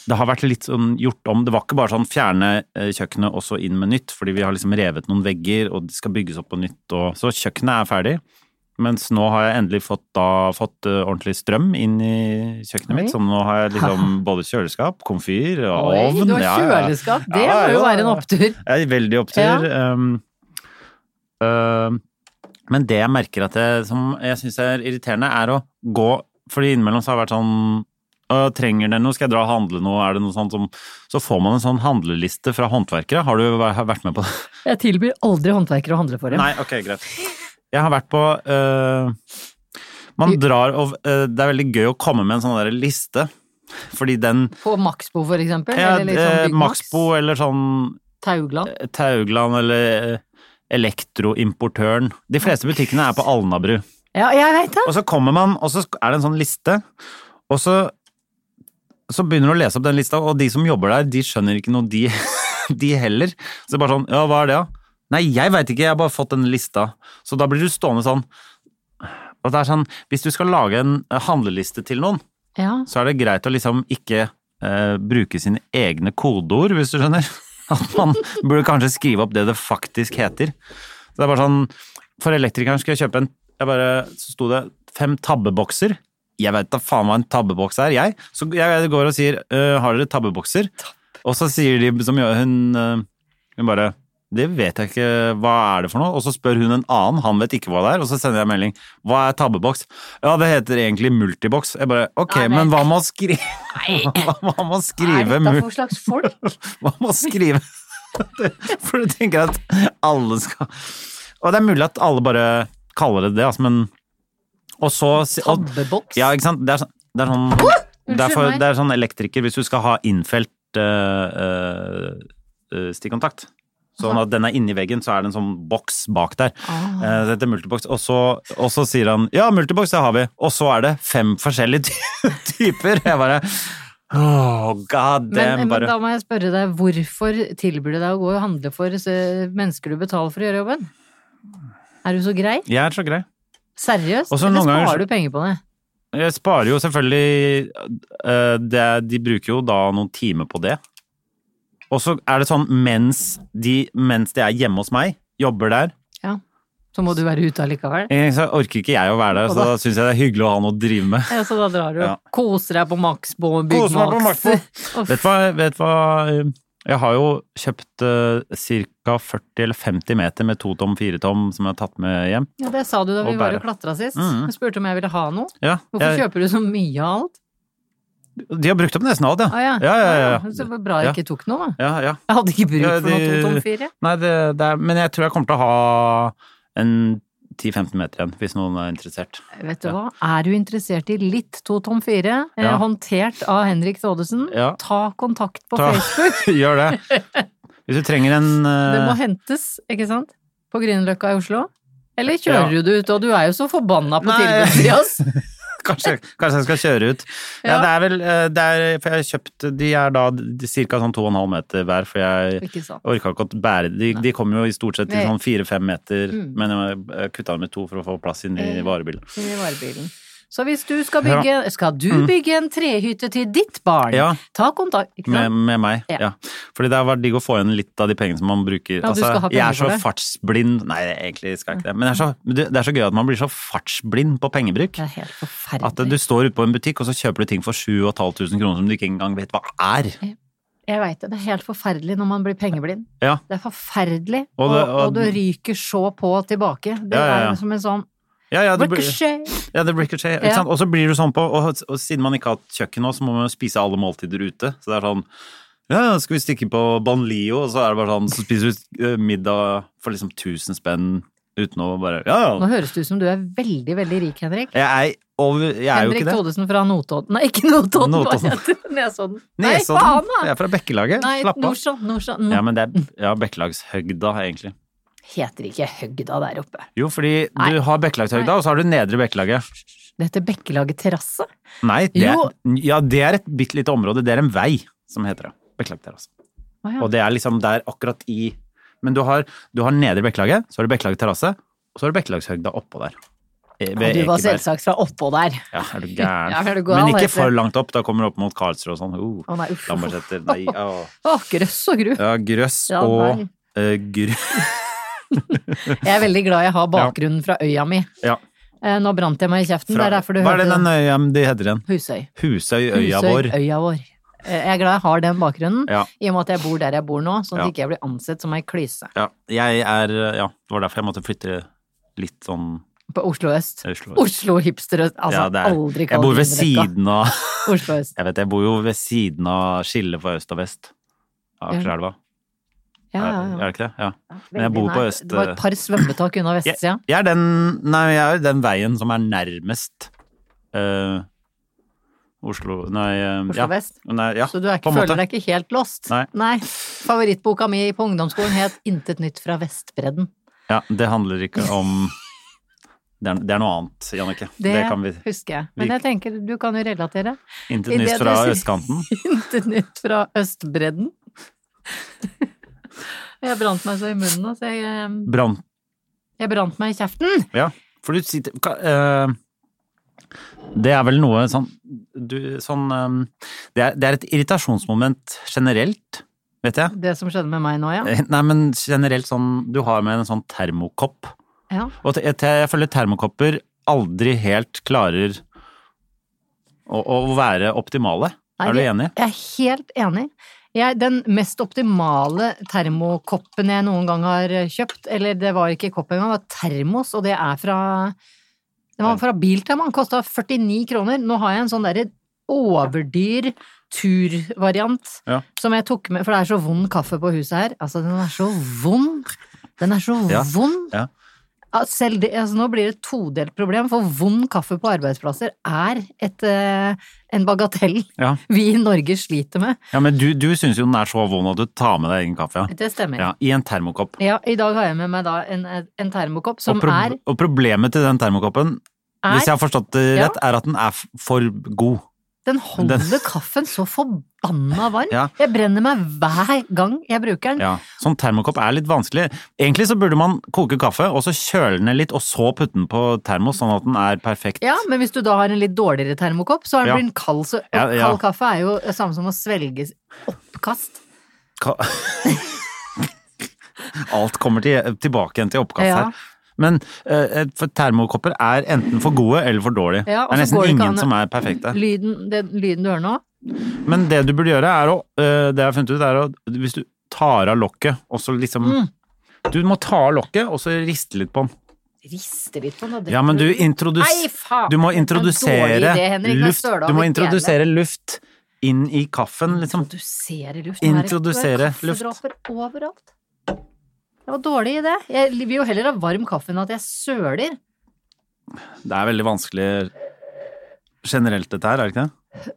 Speaker 2: Det har vært litt sånn gjort om. Det var ikke bare sånn fjerne eh, kjøkkenet og så inn med nytt, fordi vi har liksom revet noen vegger, og det skal bygges opp på nytt. Og, så kjøkkenet er ferdig. Mens nå har jeg endelig fått, da, fått eh, ordentlig strøm inn i kjøkkenet
Speaker 1: Oi.
Speaker 2: mitt. Så nå har jeg liksom både kjøleskap, komfyr og
Speaker 1: Oi,
Speaker 2: ovn.
Speaker 1: du har
Speaker 2: Ja, ja, ja.
Speaker 1: kjøleskap! Det
Speaker 2: Ja,
Speaker 1: må jo
Speaker 2: ja,
Speaker 1: være en
Speaker 2: ja.
Speaker 1: opptur.
Speaker 2: Jeg er veldig opptur. Um, um, men det jeg merker at jeg, som jeg syns er irriterende, er å gå Fordi innimellom så har det vært sånn «Å, Trenger dere noe? Skal jeg dra og handle noe? Er det noe sånt som Så får man en sånn handleliste fra håndverkere. Har du væ- vært med på det?
Speaker 1: Jeg tilbyr aldri håndverkere å handle for dem.
Speaker 2: Nei, ok, greit. Jeg har vært på eh, Man drar og eh, Det er veldig gøy å komme med en sånn der liste, fordi den
Speaker 1: På Maxbo, for eksempel?
Speaker 2: ja,
Speaker 1: eller litt sånn
Speaker 2: eh,
Speaker 1: Big Max,
Speaker 2: Maxbo eller sånn
Speaker 1: Taugland?
Speaker 2: eh, Taugland eller eh, Elektroimportøren. De fleste butikkene er på Alnabru.
Speaker 1: Ja, jeg veit det!
Speaker 2: Og så kommer man, og så er det en sånn liste, og så, så begynner du å lese opp den lista, og de som jobber der, de skjønner ikke noe, de, de heller. Så det er bare sånn, ja, hva er det da? Nei, jeg vet ikke, jeg har bare fått denne lista. Så da blir du stående sånn, og det er sånn, hvis du skal lage en eh, handleliste til noen,
Speaker 1: Ja.
Speaker 2: så er det greit å liksom ikke eh, bruke sine egne kodeord, hvis du skjønner. At man burde kanskje skrive opp det det faktisk heter. Så det er bare sånn, For elektrikeren skulle jeg kjøpe en jeg bare, Så sto det fem tabbebokser. Jeg veit da faen hva en tabbeboks er, jeg. Så jeg går og sier «Øh, har dere tabbebokser? Og så sier de som gjør hun øh, Hun bare det vet jeg ikke, hva er det for noe? Og så spør hun en annen, han vet ikke hva det er, og så sender jeg melding. Hva er tabbeboks? Ja, det heter egentlig multiboks. Jeg bare, ok,
Speaker 1: Ah, Nei, men-
Speaker 2: men hva med å skrive Hva med å
Speaker 1: Hva
Speaker 2: skrive
Speaker 1: er dette
Speaker 2: mul-
Speaker 1: for slags folk?
Speaker 2: Hva med å skrive For du tenker at alle skal Og det er mulig at alle bare kaller det det, altså, men Og så og,
Speaker 1: Tabbeboks?
Speaker 2: Ja, ikke sant? Det er, sånn- det er sånn det er, for,
Speaker 1: meg.
Speaker 2: det er sånn elektriker hvis du skal ha innfelt eh, eh, stikkontakt. Sånn at den er inni veggen, så er det en sånn boks bak der.
Speaker 1: Ah.
Speaker 2: Eh, det heter multibox. Og så, og så sier han 'ja, multibox, det har vi'. Og så er det fem forskjellige ty typer. Jeg bare Oh, god damn,
Speaker 1: Men, men
Speaker 2: bare
Speaker 1: da må jeg spørre deg, hvorfor tilbyr du deg å gå og handle for eh, mennesker du betaler for å gjøre jobben? Er du så grei?
Speaker 2: Jeg er så grei.
Speaker 1: Seriøst?
Speaker 2: Og så
Speaker 1: Eller
Speaker 2: noen ganger så-
Speaker 1: sparer du penger på det?
Speaker 2: Jeg sparer jo selvfølgelig eh, det, De bruker jo da noen timer på det. Og så er det sånn mens de, mens de er hjemme hos meg, jobber der,
Speaker 1: Ja. Så må du være ute allikevel?
Speaker 2: Eh, Så orker ikke jeg å være der, så da syns jeg det er hyggelig å ha noe å drive med.
Speaker 1: Ja, så da drar du og
Speaker 2: Ja.
Speaker 1: koser deg på Maxbo og Big
Speaker 2: Kose meg på
Speaker 1: Max.
Speaker 2: Maxbo.
Speaker 1: Uff.
Speaker 2: Vet du hva, vet du hva eh, jeg har jo kjøpt ca. 40 eller 50 meter med to tom, fire tom som jeg har tatt med hjem.
Speaker 1: Ja, det sa du da
Speaker 2: Og
Speaker 1: vi var og
Speaker 2: bære.
Speaker 1: klatra sist.
Speaker 2: Mm.
Speaker 1: Du spurte om jeg ville ha noe.
Speaker 2: Ja,
Speaker 1: Hvorfor
Speaker 2: jeg,
Speaker 1: kjøper du så mye av alt?
Speaker 2: de har brukt opp nesten alt, ja.
Speaker 1: Å ja.
Speaker 2: Ja, ja, ja,
Speaker 1: Ah, Så
Speaker 2: ja.
Speaker 1: det var bra jeg
Speaker 2: Ja.
Speaker 1: ikke tok noe, da.
Speaker 2: ja, ja.
Speaker 1: Jeg hadde ikke bruk
Speaker 2: Ja,
Speaker 1: for noe
Speaker 2: de-
Speaker 1: to tom fire.
Speaker 2: Nei, det, det er, men jeg tror jeg kommer til å ha en 10-15 meter igjen, hvis noen er interessert.
Speaker 1: Vet du hva, er du interessert i litt to tom fire, eh,
Speaker 2: Ja.
Speaker 1: håndtert av Henrik Thodesen,
Speaker 2: Ja.
Speaker 1: ta kontakt på
Speaker 2: Ta-
Speaker 1: Facebook.
Speaker 2: Gjør det. Hvis du trenger en
Speaker 1: Det må
Speaker 2: eh,
Speaker 1: hentes, ikke sant? På Grünerløkka i Oslo. Eller
Speaker 2: Ja.
Speaker 1: kjører du det ut, og du er jo så forbanna på
Speaker 2: Nei.
Speaker 1: tilbudssida, ass.
Speaker 2: kanskje, kanskje jeg skal kjøre ut. Ja,
Speaker 1: Ja.
Speaker 2: det er vel eh, det er, For jeg har kjøpt De er da ca. sånn 2,5 meter hver, for jeg
Speaker 1: Ikke sant.
Speaker 2: orka ikke å bære De, de kommer jo i stort sett til
Speaker 1: Nei.
Speaker 2: sånn 4-5 meter,
Speaker 1: Mm.
Speaker 2: men jeg kutta dem med to for å få plass inn i
Speaker 1: Ja.
Speaker 2: varebilen.
Speaker 1: Inn i varebilen. Så hvis du skal bygge, skal du bygge en trehytte til ditt barn,
Speaker 2: Mm. Ja.
Speaker 1: ta kontakt, ikke
Speaker 2: Med,
Speaker 1: sant?
Speaker 2: med meg,
Speaker 1: Ja.
Speaker 2: ja. Fordi det har vært digg å få igjen litt av de pengene som man bruker. Altså,
Speaker 1: Ja, du skal ha penger
Speaker 2: jeg er
Speaker 1: for
Speaker 2: så
Speaker 1: det. Mm.
Speaker 2: fartsblind Nei, egentlig skal jeg ikke det. Men det er, så, det det er så gøy at man blir så fartsblind på pengebruk.
Speaker 1: Det er helt forferdelig.
Speaker 2: At du står ute på en butikk, og så kjøper du ting for 7500 kroner som du ikke engang vet hva er.
Speaker 1: Jeg veit det. Det er helt forferdelig når man blir pengeblind.
Speaker 2: Ja.
Speaker 1: Det er forferdelig, og,
Speaker 2: Og det-
Speaker 1: og,
Speaker 2: og-
Speaker 1: du ryker så på tilbake. Det
Speaker 2: Ja, ja, ja.
Speaker 1: er som en sånn
Speaker 2: Ja, ja, det blir-
Speaker 1: ricochet.
Speaker 2: Ja, det er ricochet. Ikke
Speaker 1: Ja.
Speaker 2: sant? Og så blir du sånn på, og, og siden man ikke har hatt kjøkken nå, så må man jo spise alle måltider ute. Så det er sånn Ja, ja, skal vi stikke på Banlio, og så er det bare sånn Så spiser du eh, middag for liksom 1000 spenn uten å bare Ja,
Speaker 1: Nå
Speaker 2: ja.
Speaker 1: høres det ut som du er veldig, veldig rik, Henrik.
Speaker 2: Jeg er, over, jeg er jo
Speaker 1: Henrik
Speaker 2: ikke det.
Speaker 1: Thodesen fra Notodden Nei, ikke Notodden, hva
Speaker 2: Notodden.
Speaker 1: heter det? Nesodden. Nei,
Speaker 2: Nesodden.
Speaker 1: faen, da!
Speaker 2: Jeg er fra Bekkelaget.
Speaker 1: Nei,
Speaker 2: Slapp av.
Speaker 1: Nordsjø. Nordsjø.
Speaker 2: Ja, men det er ja, Bekkelagshøgda, egentlig.
Speaker 1: Heter ikke Høgda der oppe.
Speaker 2: Jo, fordi du har Bekkelagshøgda, og så har du Nedre Bekkelaget.
Speaker 1: Det heter Bekkelaget terrasse.
Speaker 2: Nei, det
Speaker 1: Jo.
Speaker 2: er, ja, det er et bitte lite område. Det er en vei som heter det. Bekkelagterrasse.
Speaker 1: Å ja.
Speaker 2: Og det er liksom der akkurat i Men du har, du har Nedre Bekkelaget, så har du Bekkelaget terrasse, og så har du Bekkelagshøgda oppå der. Eh,
Speaker 1: Og
Speaker 2: ved
Speaker 1: du var
Speaker 2: Ekeberg.
Speaker 1: selvsagt fra oppå der.
Speaker 2: Ja, er du
Speaker 1: Ja, er
Speaker 2: gæren.
Speaker 1: du gal,
Speaker 2: Men ikke
Speaker 1: heter
Speaker 2: for
Speaker 1: det.
Speaker 2: langt opp. Da kommer du opp mot Karlsrud og sånn. Uh,
Speaker 1: Å nei, uff.
Speaker 2: Lambertseter. Nei, å.
Speaker 1: Å, grøss og gru.
Speaker 2: Ja, grøss
Speaker 1: Ja,
Speaker 2: og
Speaker 1: nei.
Speaker 2: eh, gru...
Speaker 1: Jeg er veldig glad jeg har bakgrunnen fra øya mi.
Speaker 2: Ja.
Speaker 1: Eh, Nå brant jeg meg i kjeften, det er
Speaker 2: Fra,
Speaker 1: derfor du
Speaker 2: hva er det
Speaker 1: hørte
Speaker 2: den øya de heter igjen?
Speaker 1: Husøy.
Speaker 2: Husøyøya
Speaker 1: Husøy,
Speaker 2: vår.
Speaker 1: Øya vår. Eh, Jeg er glad jeg har den bakgrunnen,
Speaker 2: Ja.
Speaker 1: i og med at jeg bor der jeg bor nå, sånn at
Speaker 2: Ja.
Speaker 1: ikke jeg blir ansett som ei klyse
Speaker 2: Ja, jeg er Ja, det var derfor jeg måtte flytte litt sånn
Speaker 1: på Oslo øst.
Speaker 2: Oslo.
Speaker 1: Oslo hipster øst. Altså,
Speaker 2: Ja, det er-
Speaker 1: aldri
Speaker 2: Jeg bor ved
Speaker 1: Grünerløkka.
Speaker 2: siden av
Speaker 1: Oslo øst.
Speaker 2: Jeg vet, jeg bor jo ved siden av skillet for øst og vest.
Speaker 1: Ja.
Speaker 2: Akerselva.
Speaker 1: Ja, ja,
Speaker 2: Er, er
Speaker 1: ja.
Speaker 2: det ikke det? Ja. Men jeg bor
Speaker 1: Veldig
Speaker 2: på
Speaker 1: nær.
Speaker 2: øst... eh,
Speaker 1: Det var et par svømmetak unna
Speaker 2: jeg,
Speaker 1: vestsida.
Speaker 2: jeg er den Nei, jeg er den veien som er nærmest eh, Oslo Nei eh,
Speaker 1: Oslo
Speaker 2: ja.
Speaker 1: vest.
Speaker 2: Nei, ja,
Speaker 1: Så du er
Speaker 2: på
Speaker 1: ikke,
Speaker 2: en måte.
Speaker 1: føler deg ikke helt lost?
Speaker 2: Nei.
Speaker 1: Favorittboka mi på ungdomsskolen het Intet nytt fra Vestbredden.
Speaker 2: Ja, det handler ikke om Det er, det er noe annet, Jannicke. Det,
Speaker 1: Det,
Speaker 2: kan vi
Speaker 1: husker jeg. Men
Speaker 2: vi-
Speaker 1: jeg tenker, du kan jo relatere.
Speaker 2: Intet
Speaker 1: I det
Speaker 2: nytt
Speaker 1: du
Speaker 2: fra
Speaker 1: sier-
Speaker 2: østkanten.
Speaker 1: Intet nytt fra Østbredden. Jeg brant meg så i munnen, altså. Jeg,
Speaker 2: Brant
Speaker 1: jeg brant meg i kjeften!
Speaker 2: Ja, for du sitter ka- eh, Det er vel noe sånn du, sånn eh, det, er, det er et irritasjonsmoment generelt, vet jeg.
Speaker 1: Det som skjedde med meg nå, ja.
Speaker 2: Eh, Nei, men generelt sånn Du har med en sånn termokopp.
Speaker 1: ja.
Speaker 2: Og te- jeg, jeg føler termokopper aldri helt klarer å, å være optimale.
Speaker 1: Nei,
Speaker 2: er du
Speaker 1: jeg-
Speaker 2: enig?
Speaker 1: Jeg er helt enig. Jeg, den mest optimale termokoppen jeg noen gang har eh, kjøpt, eller det var ikke kopp engang, det var termos, og det er fra Den var fra Biltema, den kosta 49 kroner. Nå har jeg en sånn derre overdyr turvariant
Speaker 2: Ja.
Speaker 1: som jeg tok med, for det er så vond kaffe på huset her. Altså, den er så vond! Den er så
Speaker 2: Ja,
Speaker 1: vond!
Speaker 2: ja.
Speaker 1: Ja, Selv det, altså nå blir det et todelt problem, for vond kaffe på arbeidsplasser er et, eh, en bagatell
Speaker 2: Ja.
Speaker 1: vi i Norge sliter med.
Speaker 2: ja men du, du syns jo den er så vond at du tar med deg egen kaffe. Ja.
Speaker 1: Det stemmer.
Speaker 2: Ja,
Speaker 1: Ja.
Speaker 2: I en termokopp.
Speaker 1: I dag har jeg med meg da en, eh, en termokopp som
Speaker 2: og, prob-
Speaker 1: er,
Speaker 2: og problemet til den termokoppen,
Speaker 1: er
Speaker 2: hvis jeg har forstått det
Speaker 1: Ja.
Speaker 2: rett, er at den er f- for god.
Speaker 1: Den holder kaffen så forbanna varm.
Speaker 2: Ja.
Speaker 1: Jeg brenner meg hver gang jeg bruker den.
Speaker 2: Ja, Sånn termokopp er litt vanskelig. Egentlig så burde man koke kaffe, og så kjøle den ned litt, og så putte den på termos, sånn at den er perfekt.
Speaker 1: Ja, men hvis du da har en litt dårligere termokopp, så er den
Speaker 2: Ja.
Speaker 1: blir den kald, så og
Speaker 2: Ja, ja.
Speaker 1: kald kaffe er jo det samme som å svelge oppkast.
Speaker 2: Ka- Alt kommer til, tilbake igjen til oppkast
Speaker 1: Ja.
Speaker 2: her. Men eh, for termokopper er enten for gode eller for dårlige.
Speaker 1: Ja, og
Speaker 2: det er
Speaker 1: så går
Speaker 2: nesten
Speaker 1: det ikke
Speaker 2: ingen
Speaker 1: an å-
Speaker 2: som er perfekte.
Speaker 1: Lyden, den lyden du hører nå,
Speaker 2: Men det du burde gjøre, er å eh, Det jeg har funnet ut, er å Hvis du tar av lokket, og så liksom
Speaker 1: Mm.
Speaker 2: Du må ta av lokket, og så riste litt på den.
Speaker 1: rister litt på den. og det-
Speaker 2: Ja, men du introdus...
Speaker 1: Nei, faen!
Speaker 2: Du må
Speaker 1: Det er en
Speaker 2: introdusere
Speaker 1: dårlig idé, Henrik. Nå
Speaker 2: luft
Speaker 1: søler
Speaker 2: Du
Speaker 1: av
Speaker 2: må
Speaker 1: mitt
Speaker 2: introdusere luft inn i kaffen, liksom.
Speaker 1: Introdusere luft.
Speaker 2: Introdusere luft.
Speaker 1: luft. Kaffedråper overalt. Det var dårlig idé. Jeg vil jo heller ha varm kaffe enn at jeg søler.
Speaker 2: Det er veldig vanskelig generelt, dette her, er det ikke det?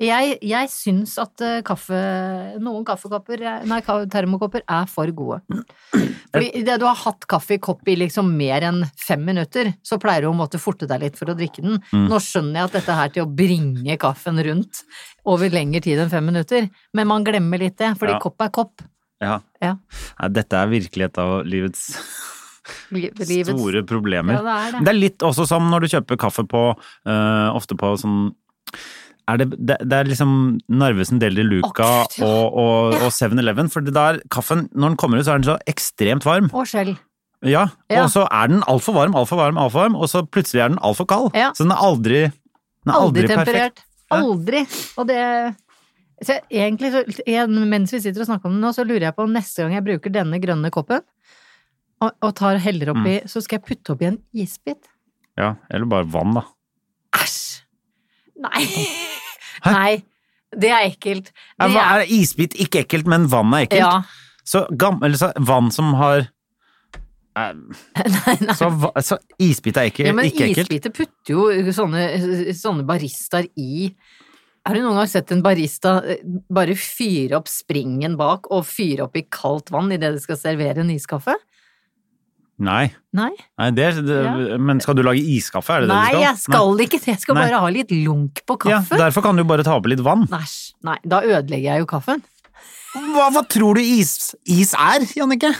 Speaker 1: Jeg, jeg syns at eh, kaffe Noen kaffekopper er- Nei, ka- termokopper er for gode. Fordi idet du har hatt kaffe i kopp i liksom mer enn fem minutter, så pleier du å måtte forte deg litt for å drikke den.
Speaker 2: Mm.
Speaker 1: Nå skjønner jeg at dette her til å bringe kaffen rundt over lengre tid enn fem minutter, men man glemmer litt det, fordi
Speaker 2: Ja.
Speaker 1: kopp er kopp.
Speaker 2: Ja.
Speaker 1: Ja.
Speaker 2: Nei, dette er virkeligheten av livets
Speaker 1: Li- Livets
Speaker 2: store problemer.
Speaker 1: Ja, det er det.
Speaker 2: Men det er litt også som når du kjøper kaffe på eh, Ofte på sånn er det, det, det er liksom Narvesen, Deli Luca
Speaker 1: Å, Gud, ja.
Speaker 2: og, og, og 7-Eleven. For det der, kaffen, når den kommer ut, så er den så ekstremt varm.
Speaker 1: Og skjell.
Speaker 2: Ja,
Speaker 1: Ja.
Speaker 2: Og så er den altfor varm, altfor varm, altfor varm, og så plutselig er den altfor kald.
Speaker 1: Ja.
Speaker 2: Så den er aldri, den er aldri,
Speaker 1: Aldri temperert.
Speaker 2: perfekt. Ja.
Speaker 1: Aldri. Og det så jeg- egentlig, så, igjen, mens vi sitter og snakker om det nå, så lurer jeg på om neste gang jeg bruker denne grønne koppen, og, og tar og heller
Speaker 2: Mm.
Speaker 1: oppi, så skal jeg putte oppi en isbit.
Speaker 2: Ja, Eller bare vann, da.
Speaker 1: Æsj! Nei. Nei. Det er ekkelt.
Speaker 2: Ja,
Speaker 1: Det
Speaker 2: hva er isbit ikke ekkelt, men vann er ekkelt.
Speaker 1: Ja.
Speaker 2: Så, gam- eller så vann som har eh, Så, va- så isbit er ikke,
Speaker 1: Ja, men
Speaker 2: ikke ekkelt.
Speaker 1: isbiter putter jo sånne, sånne baristaer i Har du noen gang sett en barista eh, bare fyre opp springen bak og fyre opp i kaldt vann idet de skal servere en iskaffe?
Speaker 2: Nei.
Speaker 1: Nei.
Speaker 2: Nei det, det,
Speaker 1: Ja.
Speaker 2: Men skal du lage iskaffe, er det
Speaker 1: Nei,
Speaker 2: det
Speaker 1: jeg
Speaker 2: du skal?
Speaker 1: skal ikke det. Jeg skal
Speaker 2: Nei.
Speaker 1: bare ha litt lunk på
Speaker 2: Ja,
Speaker 1: kaffen.
Speaker 2: derfor kan du bare ta oppi litt vann.
Speaker 1: Næsj. Nei, da ødelegger jeg jo kaffen.
Speaker 2: Hva, hva tror du is, is er, Jannicke?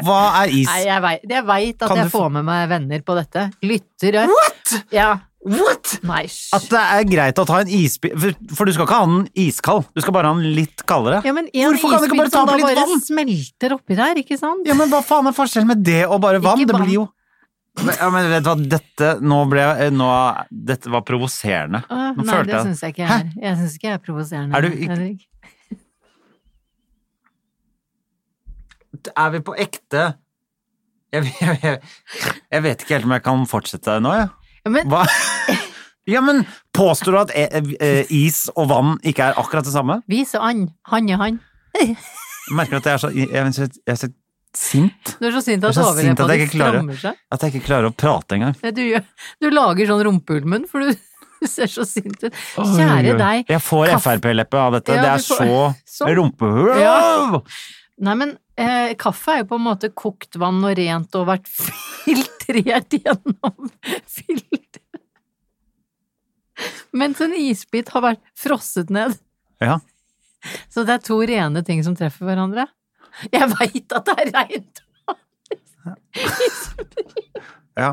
Speaker 2: Hva er is?
Speaker 1: Nei, jeg veit, jeg vet at
Speaker 2: Kan
Speaker 1: jeg
Speaker 2: du få-
Speaker 1: får med meg venner på dette. Lyttere.
Speaker 2: What?!
Speaker 1: Ja.
Speaker 2: What?!
Speaker 1: Nei,
Speaker 2: At
Speaker 1: hysj.
Speaker 2: det er greit å ta en isbit for, for du skal ikke ha den iskald, du skal bare ha den litt kaldere.
Speaker 1: Ja, men en
Speaker 2: Hvorfor kan du ikke bare
Speaker 1: isbit
Speaker 2: ta
Speaker 1: som da
Speaker 2: på litt
Speaker 1: bare
Speaker 2: vann?
Speaker 1: smelter oppi der, ikke sant?
Speaker 2: Ja, men hva faen er forskjellen med det og bare vann?
Speaker 1: Ikke
Speaker 2: Det
Speaker 1: vann.
Speaker 2: blir jo Men- Ja, men vet du hva, dette Nå ble jeg eh, nå, Dette var provoserende.
Speaker 1: Ah, Nei,
Speaker 2: Nå
Speaker 1: det
Speaker 2: følte jeg
Speaker 1: syns jeg ikke jeg er. Jeg syns ikke jeg er provoserende.
Speaker 2: Er du ikke-
Speaker 1: Henrik.
Speaker 2: Er vi på ekte jeg, jeg, jeg, jeg vet ikke helt om jeg kan fortsette nå, jeg.
Speaker 1: Ja, men
Speaker 2: Hva? Ja, men påstår du at eh, eh, is og vann ikke er akkurat det samme?
Speaker 1: vis og and. Han er han.
Speaker 2: Jeg merker at jeg er så jeg, er så- jeg er så sint.
Speaker 1: Du er så sint at
Speaker 2: Jeg er så sint at
Speaker 1: overleppa
Speaker 2: jeg
Speaker 1: di
Speaker 2: ikke klarer.
Speaker 1: strammer seg.
Speaker 2: At jeg ikke klarer å prate engang.
Speaker 1: Ja, Du, gjør- du lager sånn rumpeulmen, for du ser så sint ut.
Speaker 2: Oi,
Speaker 1: Kjære
Speaker 2: oi.
Speaker 1: deg.
Speaker 2: Jeg får
Speaker 1: Kaff-
Speaker 2: Frp-leppe av dette.
Speaker 1: Ja,
Speaker 2: det er
Speaker 1: du får-
Speaker 2: så
Speaker 1: Sånn.
Speaker 2: rumpehull!
Speaker 1: Ja. Nei, men eh, kaffe er jo på en måte kokt vann og rent og vært filtrert gjennom filter. Mens en sånn isbit har vært frosset ned.
Speaker 2: Ja.
Speaker 1: Så det er to rene ting som treffer hverandre. Jeg veit at det er reint!
Speaker 2: Ja.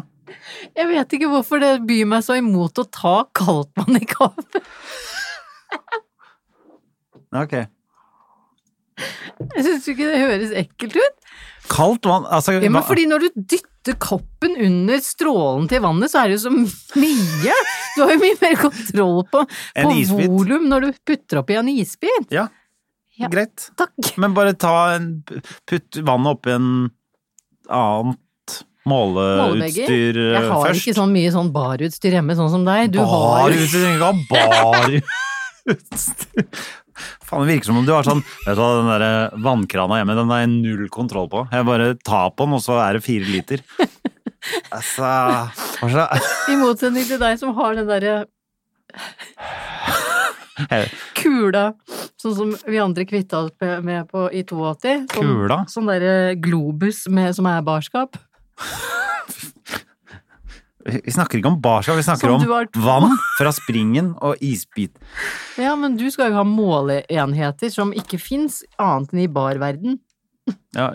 Speaker 1: Jeg vet ikke hvorfor det byr meg så imot å ta kaldtvann i kaffe.
Speaker 2: Ok.
Speaker 1: Jeg syns ikke det høres ekkelt ut.
Speaker 2: Kaldt vann altså,
Speaker 1: Ja, men
Speaker 2: hva-
Speaker 1: fordi når du dytter koppen under strålen til vannet, så er det jo så mye. Du har jo mye mer kontroll på,
Speaker 2: En
Speaker 1: på
Speaker 2: isbit.
Speaker 1: volum når du putter oppi en isbit.
Speaker 2: ja.
Speaker 1: Ja.
Speaker 2: Greit.
Speaker 1: Takk.
Speaker 2: Men bare ta en Putt vannet oppi en annet
Speaker 1: Målebegger.
Speaker 2: måleutstyr eh,
Speaker 1: Jeg har
Speaker 2: først.
Speaker 1: ikke sånn mye sånn barutstyr hjemme, sånn som deg. Du har jo
Speaker 2: Barutstyr, du trenger ikke ha barutstyr. Faen, det virker som om du har sånn Vet du hva, den der eh, vannkrana hjemme, den har jeg null kontroll på. Jeg bare tar på den, og så er det fire liter. Altså hva slags-
Speaker 1: I motsetning til deg som har den derre
Speaker 2: Eh,
Speaker 1: kula, sånn som vi andre kvitta oss med- med på i 82. Sånn,
Speaker 2: Kula?
Speaker 1: Sånn derre globus med, som er barskap.
Speaker 2: Vi snakker ikke om barskap, vi snakker
Speaker 1: Som
Speaker 2: om
Speaker 1: du har to.
Speaker 2: vann fra springen og isbit.
Speaker 1: Ja, men du skal jo ha måleenheter som ikke fins annet enn i barverden.
Speaker 2: Ja,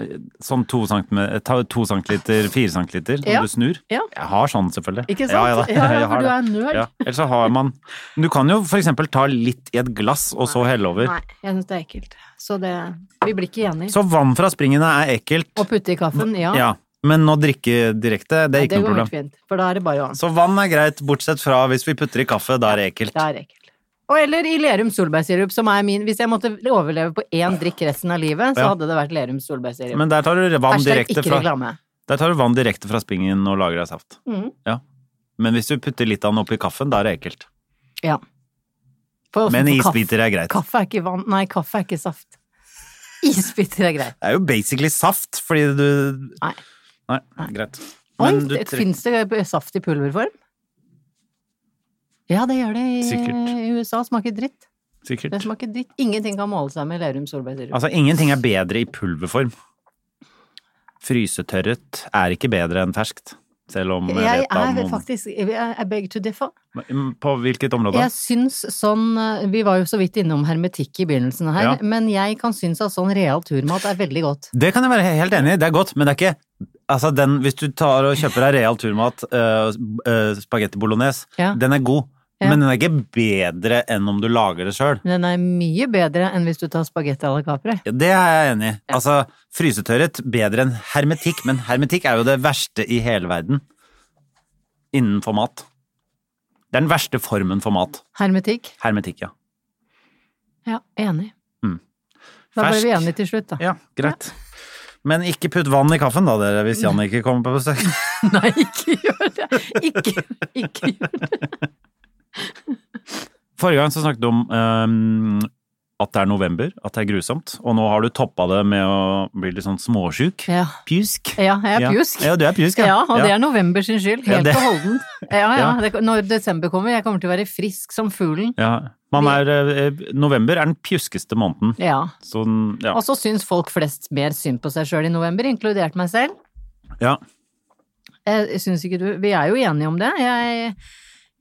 Speaker 2: sånn to centimeter, ta to centiliter, fire centiliter, når
Speaker 1: Ja.
Speaker 2: du snur.
Speaker 1: Ja.
Speaker 2: Jeg har sånn, selvfølgelig.
Speaker 1: Ikke sant?
Speaker 2: Ja, ja, da.
Speaker 1: Ja, ja,
Speaker 2: Jeg har
Speaker 1: for du
Speaker 2: det.
Speaker 1: er nerd.
Speaker 2: Ja. Ellers så har man Du kan jo for eksempel ta litt i et glass, og så helle over.
Speaker 1: Nei, jeg syns det er ekkelt. Så det Vi blir ikke enige.
Speaker 2: Så vann fra springene er ekkelt.
Speaker 1: Å putte i kaffen, ja.
Speaker 2: Ja. Men å drikke direkte, det er ikke
Speaker 1: det
Speaker 2: noe
Speaker 1: går helt
Speaker 2: problem.
Speaker 1: fint, for da er det bare å anse.
Speaker 2: Så vann er greit, bortsett fra hvis vi putter i kaffe, da er det ekkelt.
Speaker 1: Det er ekkelt. Og eller i Lerum solbærsirup, som er min Hvis jeg måtte overleve på én drikk resten av livet, så
Speaker 2: Ja.
Speaker 1: hadde det vært Lerum solbærsirup.
Speaker 2: Men der tar du vann
Speaker 1: Hashtag
Speaker 2: direkte
Speaker 1: ikke
Speaker 2: fra,
Speaker 1: reklame.
Speaker 2: der tar du vann direkte fra springen og lager deg saft.
Speaker 1: Mhm.
Speaker 2: Ja. Men hvis du putter litt av den oppi kaffen, da er det ekkelt.
Speaker 1: Ja. For-
Speaker 2: Men
Speaker 1: for kaffe-
Speaker 2: isbiter er greit.
Speaker 1: Kaffe er ikke vann Nei, kaffe er ikke saft. Isbiter er greit.
Speaker 2: Det er jo basically saft, fordi du
Speaker 1: Nei.
Speaker 2: Nei, greit.
Speaker 1: Oi,
Speaker 2: Men du
Speaker 1: det-
Speaker 2: trykker-
Speaker 1: Fins det saft i pulverform? Ja, det gjør det i
Speaker 2: Sikkert.
Speaker 1: i USA. Smaker dritt. Det
Speaker 2: Sikkert.
Speaker 1: smaker dritt. Ingenting kan måle seg med Lerum solbærsirup.
Speaker 2: Altså, ingenting er bedre i pulverform. Frysetørret er ikke bedre enn ferskt. Selv om jeg,
Speaker 1: Jeg
Speaker 2: vet da
Speaker 1: er
Speaker 2: noen mm,
Speaker 1: faktisk Jeg er beg to differ.
Speaker 2: På hvilket område?
Speaker 1: Jeg syns sånn eh, Vi var jo så vidt innom hermetikk i begynnelsen her,
Speaker 2: Ja.
Speaker 1: men jeg kan synes at sånn real turmat er veldig godt.
Speaker 2: Det kan jeg være helt enig i, det er godt, men det er ikke Altså, den, hvis du tar og kjøper deg real turmat, øh, øh, spagetti bolognese,
Speaker 1: Ja.
Speaker 2: den er god,
Speaker 1: Ja.
Speaker 2: men den er ikke bedre enn om du lager det sjøl.
Speaker 1: Men Den er mye bedre enn hvis du tar spagetti à la capre.
Speaker 2: Ja, det er jeg enig i. Altså, frysetørret bedre enn hermetikk, men hermetikk er jo det verste i hele verden innenfor mat. Det er den verste formen for mat.
Speaker 1: Hermetikk.
Speaker 2: Hermetikk, ja.
Speaker 1: Ja, enig.
Speaker 2: Mm.
Speaker 1: Da ble vi
Speaker 2: Fersk.
Speaker 1: enige til slutt, da.
Speaker 2: Ja, greit. Men ikke putt vann i kaffen, da, dere, hvis Jan ikke kommer på besøk.
Speaker 1: Nei, ikke gjør det! Ikke, ikke gjør det.
Speaker 2: Forrige gang så snakket du om ehm, at det er november, at det er grusomt, og nå har du toppa det med å bli litt sånn småsjuk.
Speaker 1: Ja,
Speaker 2: Pjusk.
Speaker 1: ja jeg er pjusk.
Speaker 2: Ja, ja du er pjusk,
Speaker 1: Ja, og det er november sin skyld.
Speaker 2: Ja,
Speaker 1: Helt
Speaker 2: det-
Speaker 1: og holdent. Ja, ja.
Speaker 2: Ja.
Speaker 1: Det, når desember kommer, jeg kommer til å være frisk som fuglen.
Speaker 2: Ja. Man er, eh, november er den pjuskeste måneden.
Speaker 1: Ja.
Speaker 2: Sånn, ja.
Speaker 1: Og så syns folk flest mer synd på seg sjøl i november, inkludert meg selv.
Speaker 2: ja.
Speaker 1: Jeg syns ikke du Vi er jo enige om det. Jeg,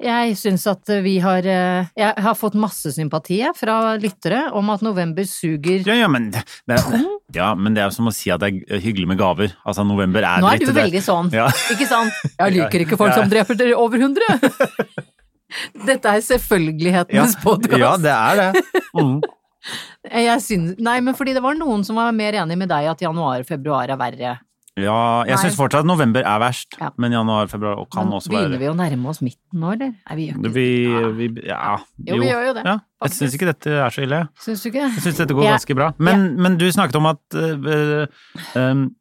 Speaker 1: jeg syns at vi har eh, Jeg har fått masse sympati jeg, fra lyttere om at november suger.
Speaker 2: Ja, ja, men det, det, ja, men det er jo som å si at det er hyggelig med gaver. Altså, november er
Speaker 1: Nå er
Speaker 2: dritt,
Speaker 1: du
Speaker 2: det
Speaker 1: veldig sånn,
Speaker 2: Ja.
Speaker 1: ikke sant? Jeg liker ikke folk
Speaker 2: Ja, ja.
Speaker 1: som dreper dere over hundre! Dette er selvfølgelighetens podcast.
Speaker 2: Ja, det er det. Mm.
Speaker 1: Jeg syns- nei, men fordi det var noen som var mer enig med deg at januar og februar er verre.
Speaker 2: Ja, jeg
Speaker 1: Nei.
Speaker 2: syns fortsatt at november er verst,
Speaker 1: Ja.
Speaker 2: men januar, februar og kan
Speaker 1: Men
Speaker 2: også
Speaker 1: begynner
Speaker 2: være
Speaker 1: vi å nærme oss midten nå, eller? Nei, vi gjør ikke det.
Speaker 2: vi, vi, ja,
Speaker 1: Jo, vi gjør jo det,
Speaker 2: Ja, jeg
Speaker 1: faktisk.
Speaker 2: syns ikke dette er så ille.
Speaker 1: Syns du ikke?
Speaker 2: Jeg syns dette går
Speaker 1: Ja.
Speaker 2: ganske bra. Men, men du snakket om at eh, eh, um,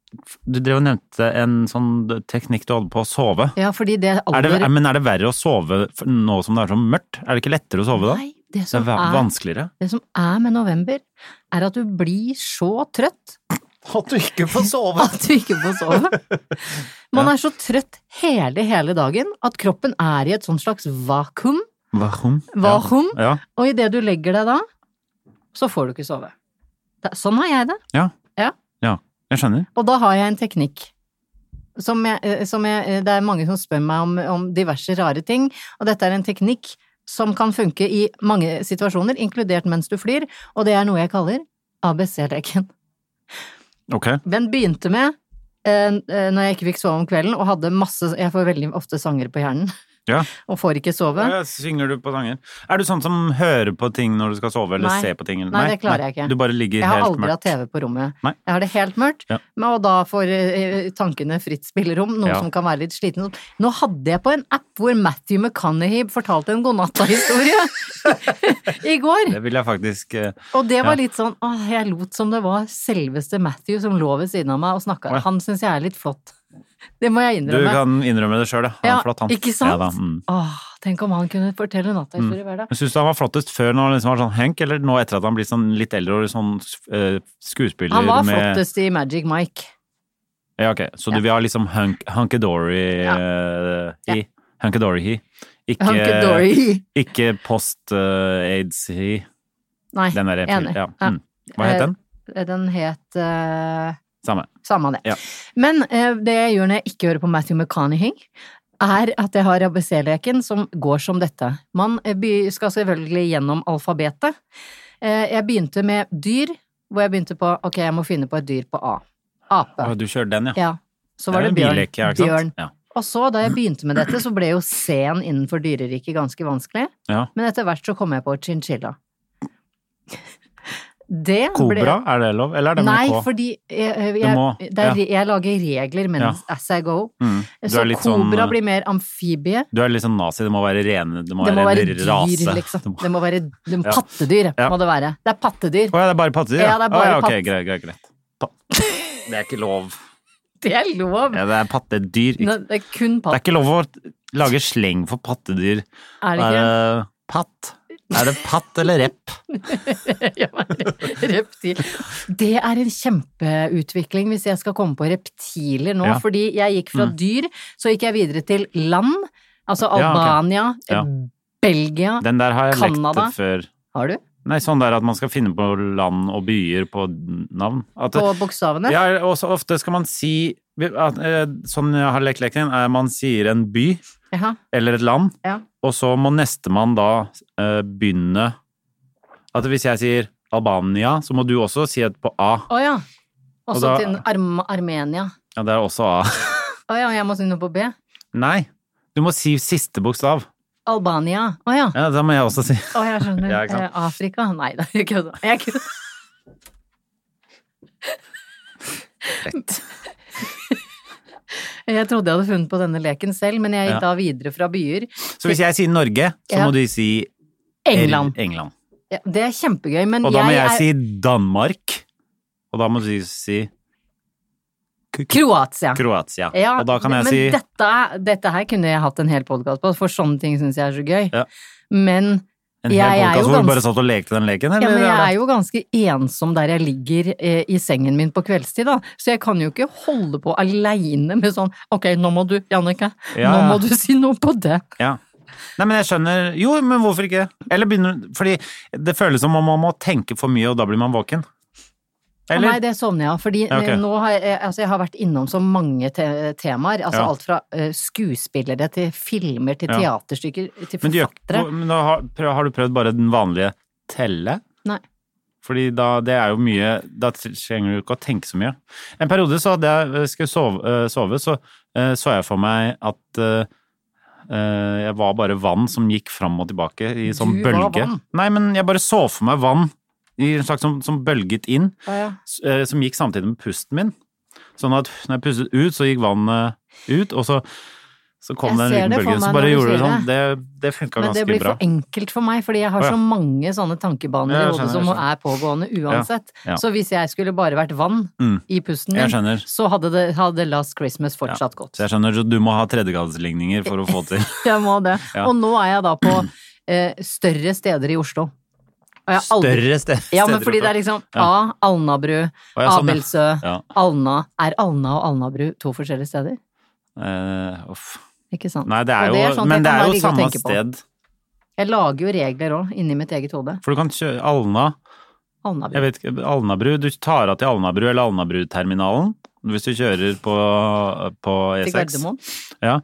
Speaker 2: Du drev og nevnte en sånn teknikk du hadde på å sove.
Speaker 1: Ja, fordi det
Speaker 2: Er det,
Speaker 1: aller
Speaker 2: men er det verre å sove f- nå som det er så mørkt? Er det ikke lettere å sove da?
Speaker 1: Nei, Det
Speaker 2: Så
Speaker 1: som,
Speaker 2: det er va-
Speaker 1: er,
Speaker 2: vanskeligere.
Speaker 1: det som er med november, er at du blir så trøtt
Speaker 2: At du ikke får sove!
Speaker 1: at du ikke får sove. Man er så trøtt hele, hele dagen at kroppen er i et sånt slags vakuum,
Speaker 2: Warum?
Speaker 1: Warum?
Speaker 2: Ja.
Speaker 1: og idet du legger deg da, så får du ikke sove. Det, er- sånn har jeg det.
Speaker 2: Ja.
Speaker 1: Ja.
Speaker 2: ja. Jeg skjønner.
Speaker 1: Og da har jeg en teknikk. Som jeg, eh, som jeg, eh, det er mange som spør meg om, om diverse rare ting, og dette er en teknikk som kan funke i mange situasjoner, inkludert mens du flyr, og det er noe jeg kaller ABC-leken.
Speaker 2: Ok.
Speaker 1: Den begynte med eh, eh, når jeg ikke fikk sove om kvelden, og hadde masse Jeg får veldig ofte sanger på hjernen,
Speaker 2: Ja.
Speaker 1: og får ikke sove.
Speaker 2: Ja, Synger du på sanger? Er du sånn som hører på ting når du skal sove, eller
Speaker 1: Nei.
Speaker 2: ser på ting? eller-
Speaker 1: Nei, det klarer jeg ikke.
Speaker 2: Du bare ligger
Speaker 1: Jeg har
Speaker 2: helt
Speaker 1: aldri hatt
Speaker 2: mørkt.
Speaker 1: TV på rommet.
Speaker 2: Nei.
Speaker 1: Jeg har det helt mørkt,
Speaker 2: Ja.
Speaker 1: men- og da får eh, tankene fritt spillerom, noen
Speaker 2: Ja.
Speaker 1: som kan være litt sliten. Nå hadde jeg på en app hvor Matthew McConaughey fortalte en godnatta-historie i går,
Speaker 2: Det vil jeg faktisk eh,
Speaker 1: og det var
Speaker 2: Ja.
Speaker 1: litt sånn åh, jeg lot som det var selveste Matthew som lå ved siden av meg og snakka.
Speaker 2: Oi.
Speaker 1: Han syns jeg er litt flott. Det må jeg
Speaker 2: Du
Speaker 1: innrømme.
Speaker 2: kan innrømme det sjøl, ja. Han er
Speaker 1: Ja,
Speaker 2: flott, han.
Speaker 1: ikke sant?
Speaker 2: Ja, da. Mm.
Speaker 1: Åh, tenk om han kunne fortelle natthistorier hver dag.
Speaker 2: Men Syns du han var flottest før når han liksom var sånn Henk, eller nå etter at han blir sånn litt eldre og sånn eh, skuespiller
Speaker 1: Han var
Speaker 2: med
Speaker 1: flottest i Magic Mike.
Speaker 2: Ja, ok. Så du vil ha liksom hunk, hunky-dory
Speaker 1: Ja.
Speaker 2: eh, i? Hunky-dory-he. Ikke,
Speaker 1: Hunky-dory.
Speaker 2: ikke post-aids-he.
Speaker 1: Nei,
Speaker 2: den derre
Speaker 1: enig.
Speaker 2: Ja. Mm. Hva het den?
Speaker 1: Eh, Den het eh,
Speaker 2: Samme.
Speaker 1: Samme det.
Speaker 2: Ja.
Speaker 1: Men eh, det jeg gjør når jeg ikke hører på Matthew McConaughey, er at jeg har ABC-leken som går som dette. Man eh, be- skal selvfølgelig gjennom alfabetet. Eh, jeg begynte med dyr, hvor jeg begynte på Ok, jeg må finne på et dyr på A. Ape.
Speaker 2: Å, du kjører den, ja.
Speaker 1: Ja. Så var det
Speaker 2: er en
Speaker 1: bjørn.
Speaker 2: billeke, ja, ikke sant?
Speaker 1: bjørn.
Speaker 2: Ja.
Speaker 1: Og så, da jeg begynte med dette, så ble jo C-en innenfor dyreriket ganske vanskelig.
Speaker 2: Ja.
Speaker 1: Men etter hvert så kom jeg på chinchilla. Det ble
Speaker 2: Kobra, er det lov? Eller er det med
Speaker 1: Nei,
Speaker 2: K?
Speaker 1: fordi jeg, jeg,
Speaker 2: Du må,
Speaker 1: det er,
Speaker 2: ja.
Speaker 1: jeg lager regler mens as I go.
Speaker 2: Mm. Du
Speaker 1: Så
Speaker 2: er litt sånn-
Speaker 1: kobra blir mer amfibie.
Speaker 2: Du er litt sånn nazi, det må være rene Det må
Speaker 1: Det må være
Speaker 2: være, en
Speaker 1: dyr,
Speaker 2: rase. Det
Speaker 1: liksom.
Speaker 2: må-
Speaker 1: Det må være det må,
Speaker 2: Ja.
Speaker 1: pattedyr,
Speaker 2: Ja.
Speaker 1: må det være. Det er pattedyr.
Speaker 2: Å ja, det er bare pattedyr?
Speaker 1: Ja, det er bare
Speaker 2: Å, ja, ok,
Speaker 1: patt-
Speaker 2: greit, greit, greit. Pa- Det er ikke lov.
Speaker 1: Det er lov!
Speaker 2: Ja, det er pattedyr.
Speaker 1: Nå,
Speaker 2: Ikke-
Speaker 1: Det er kun
Speaker 2: Det er
Speaker 1: patt.
Speaker 2: ikke lov å lage sleng for pattedyr.
Speaker 1: Er det ikke?
Speaker 2: det patt? Er det patt eller rep?
Speaker 1: Ja, reptil. Det er en kjempeutvikling hvis jeg skal komme på reptiler nå,
Speaker 2: Ja.
Speaker 1: fordi jeg gikk fra dyr, så gikk jeg videre til land. Altså
Speaker 2: ok.
Speaker 1: Albania,
Speaker 2: Ja.
Speaker 1: Belgia
Speaker 2: Den der har jeg lekt
Speaker 1: Kanada?
Speaker 2: det før.
Speaker 1: Har du?
Speaker 2: Nei, sånn der at man skal finne på land og byer på navn. At,
Speaker 1: På bokstavene.
Speaker 2: ja, og så ofte skal man si at, eh, Sånn jeg har lekt leken, er man sier en by
Speaker 1: Jaha.
Speaker 2: eller et land,
Speaker 1: Ja.
Speaker 2: og så må nestemann da eh, begynne At hvis jeg sier Albania, så må du også si et på A.
Speaker 1: Å ja.
Speaker 2: Og
Speaker 1: Også
Speaker 2: da-
Speaker 1: til Arm Armenia.
Speaker 2: Ja, det er også A.
Speaker 1: Å ja, jeg må si noe på B.
Speaker 2: Nei, du må si siste bokstav.
Speaker 1: Albania. Å ja.
Speaker 2: Ja, det må jeg også si.
Speaker 1: Å, jeg skjønner.
Speaker 2: Ja, ikke sant.
Speaker 1: Eh, Afrika? Nei da, jeg kødda. Jeg kødda. Jeg trodde jeg hadde funnet på denne leken selv, men jeg gikk
Speaker 2: Ja.
Speaker 1: da videre fra byer.
Speaker 2: Så hvis jeg sier Norge, så
Speaker 1: Ja.
Speaker 2: må de si
Speaker 1: England.
Speaker 2: El- England.
Speaker 1: Ja, Det er kjempegøy, men
Speaker 2: Og da må jeg,
Speaker 1: er
Speaker 2: si Danmark. Og da må du si K-
Speaker 1: Kroatia.
Speaker 2: Kroatia.
Speaker 1: Ja,
Speaker 2: og da kan jeg
Speaker 1: men
Speaker 2: si
Speaker 1: dette, er- dette her kunne jeg hatt en hel podkast på, for sånne ting syns jeg er så gøy.
Speaker 2: Ja.
Speaker 1: Men
Speaker 2: en hel
Speaker 1: jeg er
Speaker 2: podcast
Speaker 1: jo
Speaker 2: hvor du
Speaker 1: gans-
Speaker 2: bare satt og lekte den leken, eller?
Speaker 1: Ja, men jeg
Speaker 2: er
Speaker 1: er
Speaker 2: det-
Speaker 1: jo ganske ensom der jeg ligger eh, i sengen min på kveldstid, da. Så jeg kan jo ikke holde på aleine med sånn Ok, nå må du, Jannicke,
Speaker 2: Ja,
Speaker 1: nå
Speaker 2: ja.
Speaker 1: må du si noe på det.
Speaker 2: Ja. Nei, men jeg skjønner Jo, men hvorfor ikke? Eller begynner Fordi det føles som om man må tenke for mye, og da blir man våken.
Speaker 1: Å,
Speaker 2: Eller?
Speaker 1: Nei, det sovner jeg av. Fordi
Speaker 2: Ja, ok.
Speaker 1: eh, nå har jeg, altså, jeg har vært innom så mange te temaer. Altså
Speaker 2: Ja.
Speaker 1: alt fra eh, skuespillere til filmer til
Speaker 2: Ja.
Speaker 1: teaterstykker til
Speaker 2: men du, gjør-
Speaker 1: forfattere.
Speaker 2: men da har, prøv- har du prøvd bare den vanlige telle?
Speaker 1: Nei.
Speaker 2: Fordi da, det er jo mye, da trenger du ikke å tenke så mye. En periode så hadde jeg, jeg skulle sove, eh, sove så eh, så jeg for meg at eh, eh, jeg var bare vann som gikk fram og tilbake i sånn
Speaker 1: Du var
Speaker 2: bølge.
Speaker 1: vann?
Speaker 2: Nei, men jeg bare så for meg vann i en slags som, som bølget inn,
Speaker 1: Å, ja.
Speaker 2: s- eh, som gikk samtidig med pusten min. Sånn at når jeg pustet ut, så gikk vannet ut, og så, så kom
Speaker 1: Jeg
Speaker 2: det en
Speaker 1: ser
Speaker 2: liten
Speaker 1: det for
Speaker 2: bølge.
Speaker 1: meg
Speaker 2: Så
Speaker 1: når
Speaker 2: bare
Speaker 1: du
Speaker 2: gjorde det
Speaker 1: sier
Speaker 2: sånn. Det, det funka
Speaker 1: Men det
Speaker 2: ganske
Speaker 1: blir
Speaker 2: bra.
Speaker 1: for enkelt for meg, fordi jeg har
Speaker 2: Å, ja.
Speaker 1: så mange sånne tankebaner
Speaker 2: Ja,
Speaker 1: i
Speaker 2: jeg
Speaker 1: hodet
Speaker 2: skjønner,
Speaker 1: som
Speaker 2: jeg
Speaker 1: er pågående uansett.
Speaker 2: ja.
Speaker 1: Så hvis jeg skulle bare vært vann
Speaker 2: Mm.
Speaker 1: i pusten min,
Speaker 2: Jeg skjønner.
Speaker 1: så hadde, det, hadde Last Christmas fortsatt gått.
Speaker 2: Så jeg skjønner, så du må ha tredjegradsligninger for å få til.
Speaker 1: Jeg må det.
Speaker 2: Ja.
Speaker 1: Og nå er jeg da på eh, større steder i Oslo. Og jeg har aldri-
Speaker 2: Større sted,
Speaker 1: Ja, men
Speaker 2: steder
Speaker 1: fordi
Speaker 2: også.
Speaker 1: det er liksom
Speaker 2: Ja.
Speaker 1: A, Alnabru,
Speaker 2: Å, ja, sånn, ja.
Speaker 1: Abelsø,
Speaker 2: Ja.
Speaker 1: Alna. Er Alna og Alnabru to forskjellige steder?
Speaker 2: Eh, uff.
Speaker 1: Ikke sant?
Speaker 2: Nei, det er
Speaker 1: liksom- Og sånn
Speaker 2: jo,
Speaker 1: sånt jeg
Speaker 2: men det
Speaker 1: kan
Speaker 2: er
Speaker 1: bare
Speaker 2: jo
Speaker 1: ligge og
Speaker 2: samme
Speaker 1: tenke på.
Speaker 2: sted.
Speaker 1: Jeg lager jo regler òg, inni mitt eget hode.
Speaker 2: For du kan kjøre Alna,
Speaker 1: Alnabru.
Speaker 2: jeg vet ikke, Alnabru, du tar av til Alnabru eller Alnabruterminalen hvis du kjører på, på
Speaker 1: Til
Speaker 2: E6.
Speaker 1: Gardermoen.
Speaker 2: Ja.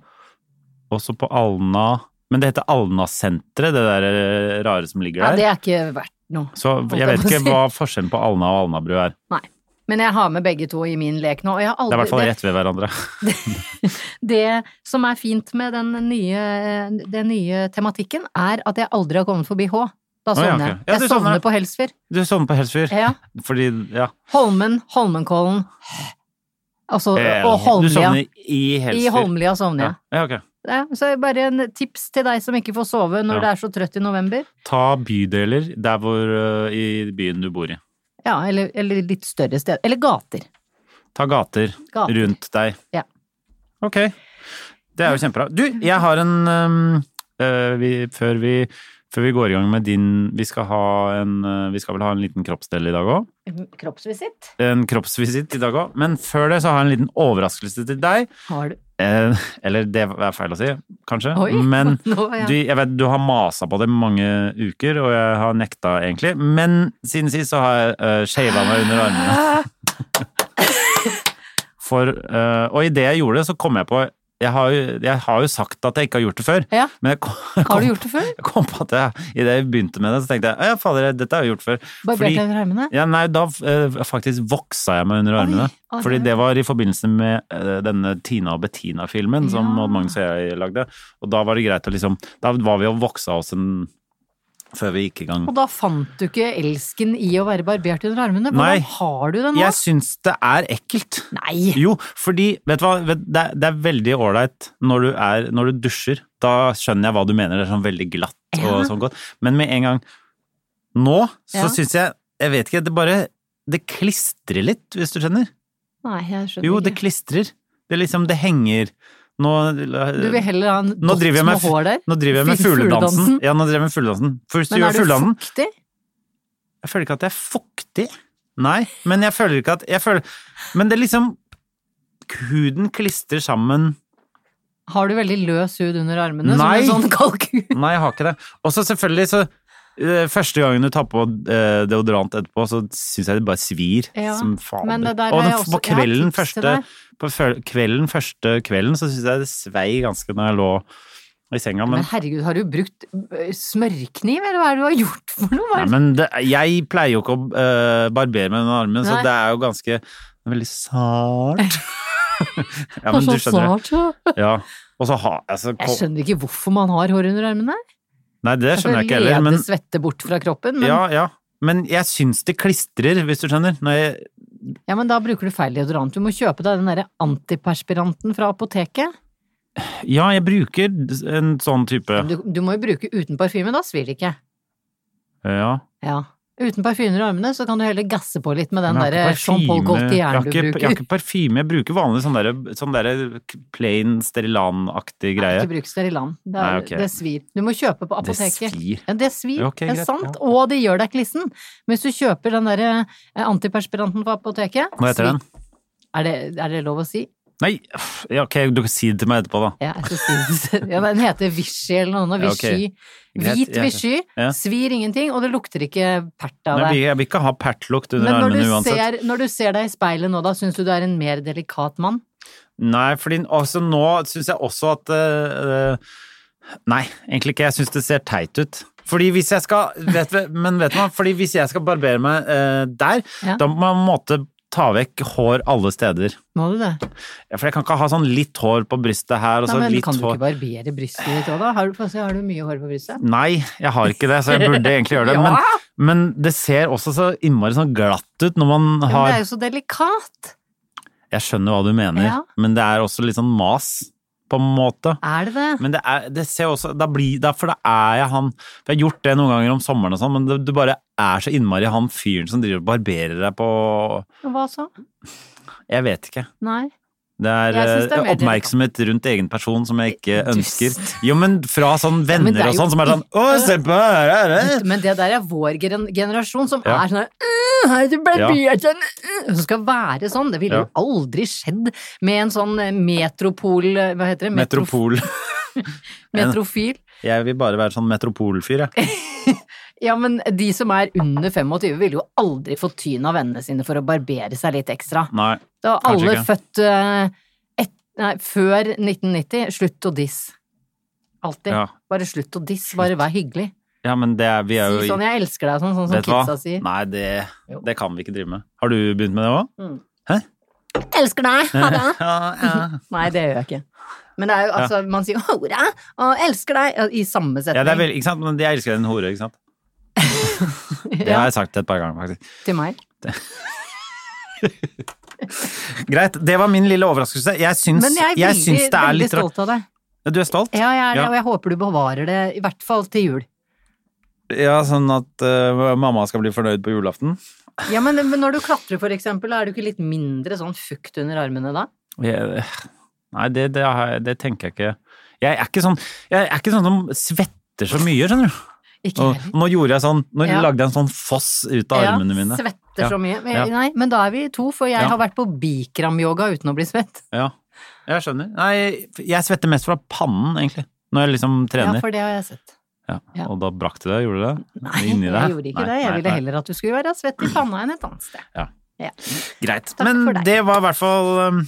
Speaker 2: Også på Alna Men det heter Alna-senteret, det der eh, rare som ligger
Speaker 1: Ja,
Speaker 2: der.
Speaker 1: det er ikke verdt noe.
Speaker 2: Så
Speaker 1: holdt
Speaker 2: jeg
Speaker 1: jeg
Speaker 2: vet
Speaker 1: på å
Speaker 2: ikke
Speaker 1: si.
Speaker 2: hva forskjellen på Alna og Alnabru er.
Speaker 1: Nei. Men jeg har med begge to i min lek nå. Og jeg har
Speaker 2: Det er
Speaker 1: aldri,
Speaker 2: i hvert fall rett ved hverandre.
Speaker 1: Det som er fint med den nye, den nye tematikken, er at jeg aldri har kommet forbi H. Da
Speaker 2: Å, ja,
Speaker 1: sovner
Speaker 2: ok.
Speaker 1: jeg.
Speaker 2: Ja, du
Speaker 1: jeg
Speaker 2: sovner.
Speaker 1: sovner på Helsfyr.
Speaker 2: Du sovner på Helsfyr.
Speaker 1: Ja.
Speaker 2: Fordi, ja.
Speaker 1: Holmen, Holmenkollen altså, og
Speaker 2: Du
Speaker 1: Holmlia.
Speaker 2: sovner i
Speaker 1: I
Speaker 2: Helsfyr.
Speaker 1: Holmlia sovner
Speaker 2: Ja.
Speaker 1: jeg.
Speaker 2: ja, ok.
Speaker 1: Ja, så bare en tips til deg som ikke får sove når
Speaker 2: Ja.
Speaker 1: du er så trøtt i november.
Speaker 2: Ta bydeler der hvor eh, i byen du bor i.
Speaker 1: Ja, eller, eller litt større sted. Eller gater.
Speaker 2: Ta gater,
Speaker 1: Gater.
Speaker 2: rundt deg.
Speaker 1: Ja.
Speaker 2: Ok. Det er jo kjempebra. Du, jeg har en øhm, øh, vi, før, vi, før vi går i gang med din Vi skal, ha en, øh, vi skal vel ha en liten kroppsdel i dag òg?
Speaker 1: Kroppsvisitt.
Speaker 2: En kroppsvisitt i dag òg. Men før det så har jeg en liten overraskelse til deg.
Speaker 1: Har du
Speaker 2: Eh, eller det er feil å si, kanskje.
Speaker 1: Oi,
Speaker 2: Men
Speaker 1: nå er jeg-
Speaker 2: du, jeg vet, du har masa på det i mange uker, og jeg har nekta egentlig. Men siden sist så har jeg uh, shava meg under armene. For, eh, og idet jeg gjorde det, så kom jeg på jeg har, jo, jeg har jo sagt at jeg ikke har gjort det før.
Speaker 1: Ja.
Speaker 2: Men jeg kom,
Speaker 1: Har du gjort det før?
Speaker 2: jeg kom på at jeg, idet jeg begynte med det, så tenkte jeg ja, fader, dette har jeg gjort før.
Speaker 1: Barbert deg over armene?
Speaker 2: Ja, nei, da eh, faktisk voksa jeg meg under armene.
Speaker 1: oi,
Speaker 2: fordi
Speaker 1: oi.
Speaker 2: det var i forbindelse med eh, denne Tina og Bettina-filmen som Odd Magnus og jeg lagde. Og da var det greit å liksom Da var vi og voksa oss en Før vi gikk i gang.
Speaker 1: Og da fant du ikke elsken i å være barbert under armene? Hvordan
Speaker 2: Nei.
Speaker 1: har du det nå?
Speaker 2: Jeg syns det er ekkelt.
Speaker 1: Nei.
Speaker 2: Jo, fordi Vet du hva, vet, det, er, det er veldig ålreit når, du er- når du dusjer. Da skjønner jeg hva du mener. Det er sånn veldig glatt og sånn godt. Men med en gang Nå så
Speaker 1: Ja.
Speaker 2: syns jeg Jeg vet ikke, det bare Det klistrer litt, hvis du skjønner.
Speaker 1: Nei, jeg skjønner
Speaker 2: Jo, det
Speaker 1: ikke.
Speaker 2: klistrer. Det er liksom, det henger. Nå,
Speaker 1: Du vil heller ha en
Speaker 2: nå
Speaker 1: dott
Speaker 2: driver jeg
Speaker 1: med
Speaker 2: med,
Speaker 1: hår der?
Speaker 2: nå driver jeg med
Speaker 1: Fin
Speaker 2: fugledansen. Ja, nå driver jeg med fugledansen. Først
Speaker 1: Men
Speaker 2: gjør
Speaker 1: er
Speaker 2: jeg
Speaker 1: du
Speaker 2: fugledansen.
Speaker 1: fuktig?
Speaker 2: Jeg føler ikke at jeg er fuktig. Nei, men jeg føler ikke at jeg føler, Men det er liksom Huden klistrer sammen.
Speaker 1: Har du veldig løs hud under armene?
Speaker 2: Nei.
Speaker 1: Som en sånn kalkun?
Speaker 2: Nei, jeg har ikke det. Og så selvfølgelig, så eh, Første gangen du tar på eh, deodorant etterpå, så syns jeg det bare svir
Speaker 1: Ja,
Speaker 2: som fader.
Speaker 1: men det der
Speaker 2: og
Speaker 1: har
Speaker 2: den-
Speaker 1: jeg også-
Speaker 2: på
Speaker 1: jeg har
Speaker 2: kvelden,
Speaker 1: tips til
Speaker 2: første,
Speaker 1: deg.
Speaker 2: på fø- kvelden første kvelden, så syns jeg det svei ganske når jeg lå i senga, men
Speaker 1: Men herregud, har du brukt ø, smørkniv, eller hva er det du har gjort for noe? Hva
Speaker 2: Nei,
Speaker 1: er det-
Speaker 2: men det, jeg pleier jo ikke å eh, barbere med den armen, så
Speaker 1: Nei.
Speaker 2: det er jo ganske Veldig sart. ja, men
Speaker 1: Det
Speaker 2: du
Speaker 1: er så
Speaker 2: skjønner det.
Speaker 1: snart, så.
Speaker 2: Ja. Og så har altså,
Speaker 1: Jeg
Speaker 2: ko-
Speaker 1: skjønner ikke hvorfor man har hår under armene.
Speaker 2: Nei, det skjønner jeg ikke heller,
Speaker 1: leder
Speaker 2: men
Speaker 1: svette bort fra kroppen, men,
Speaker 2: Ja,
Speaker 1: ja.
Speaker 2: ja. Men jeg syns det klistrer, hvis du skjønner. Når jeg,
Speaker 1: men da bruker du feil deodorant. Du må kjøpe deg den derre antiperspiranten fra apoteket.
Speaker 2: ja, jeg bruker en sånn type
Speaker 1: Du, du må jo bruke uten parfyme, da svir det ikke.
Speaker 2: Ja.
Speaker 1: Ja. Uten parfyme i armene, så kan du heller gasse på litt med den
Speaker 2: Men jeg har
Speaker 1: derre
Speaker 2: ikke
Speaker 1: Jean Paul
Speaker 2: parfyme- jeg har
Speaker 1: Gaultier du
Speaker 2: ikke- Jeg
Speaker 1: bruker.
Speaker 2: har ikke parfyme, jeg bruker vanlig sånn derre sånn der plain Sterilan-aktig greie.
Speaker 1: Ikke bruk Sterilan. Det, er,
Speaker 2: Nei, ok.
Speaker 1: det svir. Du må kjøpe på
Speaker 2: Det
Speaker 1: apoteket.
Speaker 2: svir.
Speaker 1: Ja, det svir,
Speaker 2: Ja, ok,
Speaker 1: det
Speaker 2: greit,
Speaker 1: er sant,
Speaker 2: ja.
Speaker 1: og det gjør deg klissen. Men hvis du kjøper den derre eh, antiperspiranten på apoteket
Speaker 2: Hva heter
Speaker 1: svir.
Speaker 2: den?
Speaker 1: Er det, er det lov å si?
Speaker 2: Nei, uff, ja, ok, du kan si det til meg etterpå, da.
Speaker 1: Ja, jeg skal si det. ja, den heter Vichy eller noe.
Speaker 2: Ja,
Speaker 1: Vichy.
Speaker 2: ok. Greit,
Speaker 1: Hvit
Speaker 2: jeg-
Speaker 1: Vichy.
Speaker 2: ja.
Speaker 1: Svir ingenting, og det lukter ikke pert av
Speaker 2: Nei, jeg
Speaker 1: deg.
Speaker 2: vil- jeg vil ikke ha pertlukt under
Speaker 1: Men når du,
Speaker 2: armene uansett.
Speaker 1: ser, når du ser deg i speilet nå, da, syns du du er en mer delikat mann?
Speaker 2: Nei, fordi altså, nå syns jeg også at eh, eh, Nei, egentlig ikke. Jeg syns det ser teit ut. Fordi hvis jeg skal vet, du- Men vet du hva, fordi hvis jeg skal barbere meg eh, der,
Speaker 1: Ja.
Speaker 2: da må man på en måte ta vekk hår alle steder.
Speaker 1: Må du det?
Speaker 2: Ja, For jeg kan ikke ha sånn litt hår på brystet her og så
Speaker 1: Nei, men
Speaker 2: litt
Speaker 1: kan du
Speaker 2: hår
Speaker 1: ikke barbere brystet ditt òg, da? Har du, få se, har du mye hår på brystet?
Speaker 2: Nei, jeg har ikke det, så jeg burde egentlig gjøre det.
Speaker 1: Ja.
Speaker 2: men, men det ser også så innmari sånn glatt ut når man
Speaker 1: Ja, men
Speaker 2: har
Speaker 1: det er jo så delikat!
Speaker 2: Jeg skjønner hva du mener,
Speaker 1: Ja.
Speaker 2: men det er også litt sånn mas, på en måte.
Speaker 1: Er det det?
Speaker 2: Men det, er, det ser jeg også da blir, da, For da er jeg han for Jeg har gjort det noen ganger om sommeren og sånn, men det, du bare er så innmari han fyren som driver og barberer deg på
Speaker 1: Hva så?
Speaker 2: Jeg vet ikke.
Speaker 1: Nei.
Speaker 2: Det er,
Speaker 1: Jeg synes det er
Speaker 2: eh,
Speaker 1: mer
Speaker 2: oppmerksomhet rundt egen person som jeg ikke
Speaker 1: Dust.
Speaker 2: ønsker. Jo, men fra sånn venner
Speaker 1: men det er
Speaker 2: og
Speaker 1: jo-
Speaker 2: sånn, som er sånn Å, se på her, her, her.
Speaker 1: Men det der er vår gener- generasjon som
Speaker 2: Ja.
Speaker 1: er sånn der, «Øh, her, du
Speaker 2: Ja.
Speaker 1: barbert deg, øh», Som skal være sånn. Det ville jo aldri skjedd med en sånn eh, metropol... eh, Hva heter det? Metrof-
Speaker 2: Metropol.
Speaker 1: Metrofil.
Speaker 2: Jeg vil bare være sånn metropolfyr, jeg.
Speaker 1: Ja, men de som er under 25 ville jo aldri fått tyn av vennene sine for å barbere seg litt ekstra.
Speaker 2: Nei.
Speaker 1: Da var
Speaker 2: Kanskje
Speaker 1: alle
Speaker 2: ikke.
Speaker 1: født eh, et, nei, før 1990. Slutt å diss. Alltid.
Speaker 2: Ja.
Speaker 1: Bare slutt å diss. Bare vær hyggelig.
Speaker 2: Ja, men det er, vi er jo
Speaker 1: Si
Speaker 2: i-
Speaker 1: sånn 'jeg elsker deg', sånn, sånn som
Speaker 2: Vet du hva?
Speaker 1: kidsa sier.
Speaker 2: Nei, det,
Speaker 1: Jo. Mm.
Speaker 2: det kan vi ikke drive med. Har du begynt med det òg?
Speaker 1: Elsker deg! Ha det!
Speaker 2: Ja, ja.
Speaker 1: Nei, det gjør jeg ikke. Men det er jo altså, man sier 'hora' og 'elsker deg' i samme setning
Speaker 2: ja, det er vel, ikke sant? Men jeg elsker en hore, ikke sant? Det har jeg sagt et par ganger, faktisk.
Speaker 1: til meg.
Speaker 2: Greit, det var min lille overraskelse. Jeg syns,
Speaker 1: Men jeg er
Speaker 2: jeg
Speaker 1: veldig,
Speaker 2: syns det er
Speaker 1: veldig
Speaker 2: litt rart.
Speaker 1: stolt av deg.
Speaker 2: Ja, Du er stolt?
Speaker 1: Ja, jeg er det,
Speaker 2: Ja.
Speaker 1: og jeg håper du bevarer det, i hvert fall til jul.
Speaker 2: Ja, sånn at eh, mamma skal bli fornøyd på julaften.
Speaker 1: Ja, men, men når du klatrer, for eksempel, er du ikke litt mindre sånn fukt under armene da?
Speaker 2: Jeg, nei, det, det, har jeg- det tenker jeg ikke. Jeg er ikke sånn, jeg er ikke sånn som svetter så mye, skjønner du.
Speaker 1: Ikke
Speaker 2: Og,
Speaker 1: heller.
Speaker 2: nå gjorde jeg sånn, nå
Speaker 1: Ja.
Speaker 2: lagde jeg en sånn foss ut av armene mine.
Speaker 1: Ja, svetter så mye. Men,
Speaker 2: Ja.
Speaker 1: Nei, men da er vi to, for jeg
Speaker 2: Ja.
Speaker 1: har vært på bikram-yoga uten å bli svett.
Speaker 2: Ja, jeg skjønner. Nei, jeg svetter mest fra pannen, egentlig. Når jeg liksom
Speaker 1: Ja,
Speaker 2: trener. Ja,
Speaker 1: for det har jeg sett. ja.
Speaker 2: Og da brakk du det, gjorde du det?
Speaker 1: Nei,
Speaker 2: Inni
Speaker 1: jeg
Speaker 2: deg?
Speaker 1: gjorde ikke
Speaker 2: Nei,
Speaker 1: det. Jeg
Speaker 2: nei,
Speaker 1: ville
Speaker 2: nei.
Speaker 1: heller at du skulle være svett i panna enn et annet sted.
Speaker 2: Ja.
Speaker 1: Ja.
Speaker 2: Greit.
Speaker 1: Takk for
Speaker 2: Men
Speaker 1: deg.
Speaker 2: det var i hvert fall um,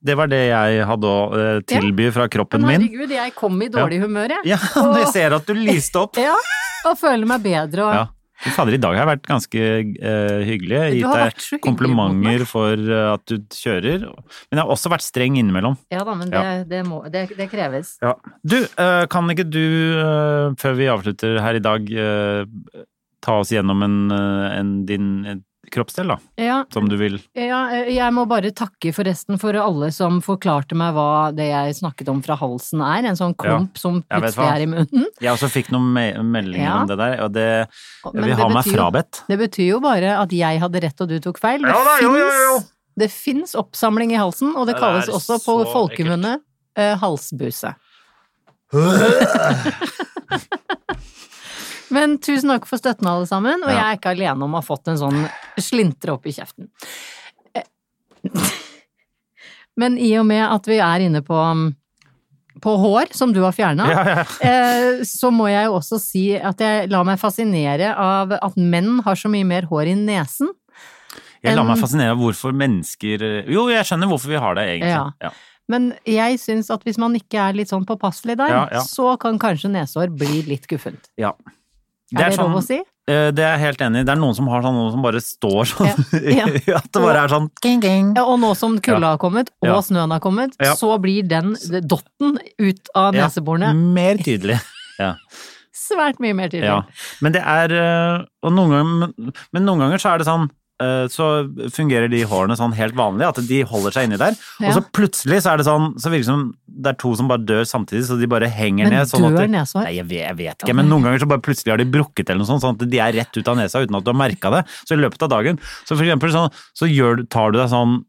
Speaker 2: Det var det jeg hadde å eh, tilby fra kroppen
Speaker 1: Men
Speaker 2: min.
Speaker 1: herregud, jeg kom i dårlig humør, jeg.
Speaker 2: Ja, jeg ser at du lyste opp.
Speaker 1: Ja, og føler meg bedre og
Speaker 2: Ja. Fy fader, i dag har jeg vært ganske eh, hyggelig. Jeg
Speaker 1: Du
Speaker 2: har
Speaker 1: har vært
Speaker 2: gitt
Speaker 1: så
Speaker 2: deg
Speaker 1: hyggelig mot
Speaker 2: komplimenter for eh, at du kjører. Men jeg har også vært streng innimellom.
Speaker 1: Ja da, men det, det, må, det, det kreves.
Speaker 2: Du, eh, kan ikke du, eh, før vi avslutter her i dag, eh, ta oss gjennom en, eh, en, din en kroppsdel, da?
Speaker 1: Ja,
Speaker 2: Som du vil.
Speaker 1: ja, jeg må bare takke forresten for alle som forklarte meg hva det jeg snakket om fra halsen er. En sånn klump som
Speaker 2: jeg vet
Speaker 1: plutselig
Speaker 2: hva.
Speaker 1: er i munnen.
Speaker 2: Jeg også fikk noen me meldinger
Speaker 1: Ja.
Speaker 2: om det der, og det
Speaker 1: Men
Speaker 2: vil
Speaker 1: det
Speaker 2: ha meg
Speaker 1: betyr jo-
Speaker 2: frabedt.
Speaker 1: Det betyr jo bare at jeg hadde rett og du tok feil. Det
Speaker 2: Ja da, jo, jo, jo.
Speaker 1: finnes- Det fins oppsamling i halsen, og det,
Speaker 2: Det
Speaker 1: kalles
Speaker 2: er
Speaker 1: også på
Speaker 2: så
Speaker 1: folkemunne eh, halsbuse. Men tusen takk for støtten, alle sammen, og jeg er ikke alene om å ha fått en sånn slintre opp i kjeften. Eh, Men i og med at vi er inne på, mm, på hår, som du har fjerna,
Speaker 2: Ja, ja.
Speaker 1: Eh, så må jeg jo også si at jeg lar meg fascinere av at menn har så mye mer hår i nesen.
Speaker 2: Jeg lar
Speaker 1: En-
Speaker 2: meg fascinere av hvorfor mennesker Jo, jeg skjønner hvorfor vi har det,
Speaker 1: Ja.
Speaker 2: egentlig. Ja.
Speaker 1: Men jeg syns at hvis man ikke er litt sånn påpasselig der,
Speaker 2: Ja, ja.
Speaker 1: så kan kanskje nesehår bli litt guffent.
Speaker 2: Ja.
Speaker 1: Er det, lov å si?
Speaker 2: eh, Det er jeg helt enig i. Det er noen som har sånn noen som bare står sånn.
Speaker 1: Ja. Ja.
Speaker 2: At det bare er sånn king, king.
Speaker 1: Ja, og nå som kulda har kommet, og
Speaker 2: Ja.
Speaker 1: snøen har kommet,
Speaker 2: Ja.
Speaker 1: så blir den dotten ut av
Speaker 2: Ja,
Speaker 1: neseborene
Speaker 2: Mer tydelig. Ja.
Speaker 1: svært mye mer tydelig.
Speaker 2: ja. Men det er eh, Og noen ganger men- Men noen ganger så er det sånn eh, så fungerer de hårene sånn helt vanlig, at de holder seg inni der. Og så
Speaker 1: Ja.
Speaker 2: plutselig så er det sånn, så virker det som det er to som bare dør samtidig, så de bare henger
Speaker 1: Men
Speaker 2: ned. sånn
Speaker 1: dør
Speaker 2: at de-
Speaker 1: nesehår?
Speaker 2: Nei, jeg vet, jeg vet ikke, men noen ganger så bare plutselig har de brukket eller noe sånt, sånn at de er rett ut av nesa uten at du har merka det. Så i løpet av dagen, så for eksempel sånn, så gjør, du- tar du deg sånn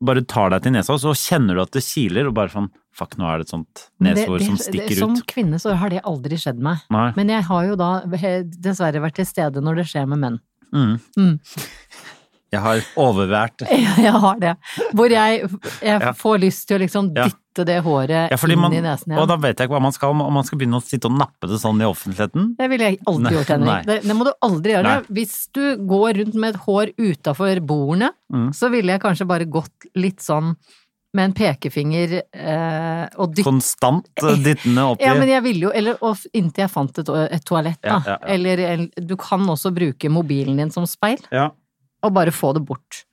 Speaker 2: bare tar deg til nesa, og så kjenner du at det kiler, og bare sånn Fuck, nå er det et sånt
Speaker 1: Men det-
Speaker 2: neshår
Speaker 1: det-
Speaker 2: som
Speaker 1: det,
Speaker 2: stikker
Speaker 1: som
Speaker 2: ut.
Speaker 1: Som kvinne så har det aldri skjedd meg.
Speaker 2: Nei.
Speaker 1: Men jeg har jo da he- dessverre vært til stede når det skjer med menn.
Speaker 2: Jeg har overvært
Speaker 1: Ja, jeg har det. Hvor jeg, jeg
Speaker 2: Ja.
Speaker 1: får lyst til å liksom
Speaker 2: Ja.
Speaker 1: dytte det håret
Speaker 2: ja, fordi
Speaker 1: inn
Speaker 2: man,
Speaker 1: i nesen
Speaker 2: Og
Speaker 1: igjen.
Speaker 2: da vet jeg ikke hva man skal, om man skal begynne å sitte og nappe det sånn i offentligheten.
Speaker 1: Det ville jeg aldri
Speaker 2: Nei,
Speaker 1: gjort, Henrik.
Speaker 2: nei.
Speaker 1: Det, det må du aldri gjøre.
Speaker 2: Nei.
Speaker 1: Hvis du går rundt med et hår utafor bordene,
Speaker 2: Mm.
Speaker 1: så ville jeg kanskje bare gått litt sånn med en pekefinger eh, og dytte
Speaker 2: Konstant eh, dyttende opp i
Speaker 1: Ja, men jeg ville jo Eller og f- inntil jeg fant et, et toalett, da.
Speaker 2: Ja, ja, ja.
Speaker 1: Eller en- du kan også bruke mobilen din som speil,
Speaker 2: Ja.
Speaker 1: og bare få det bort.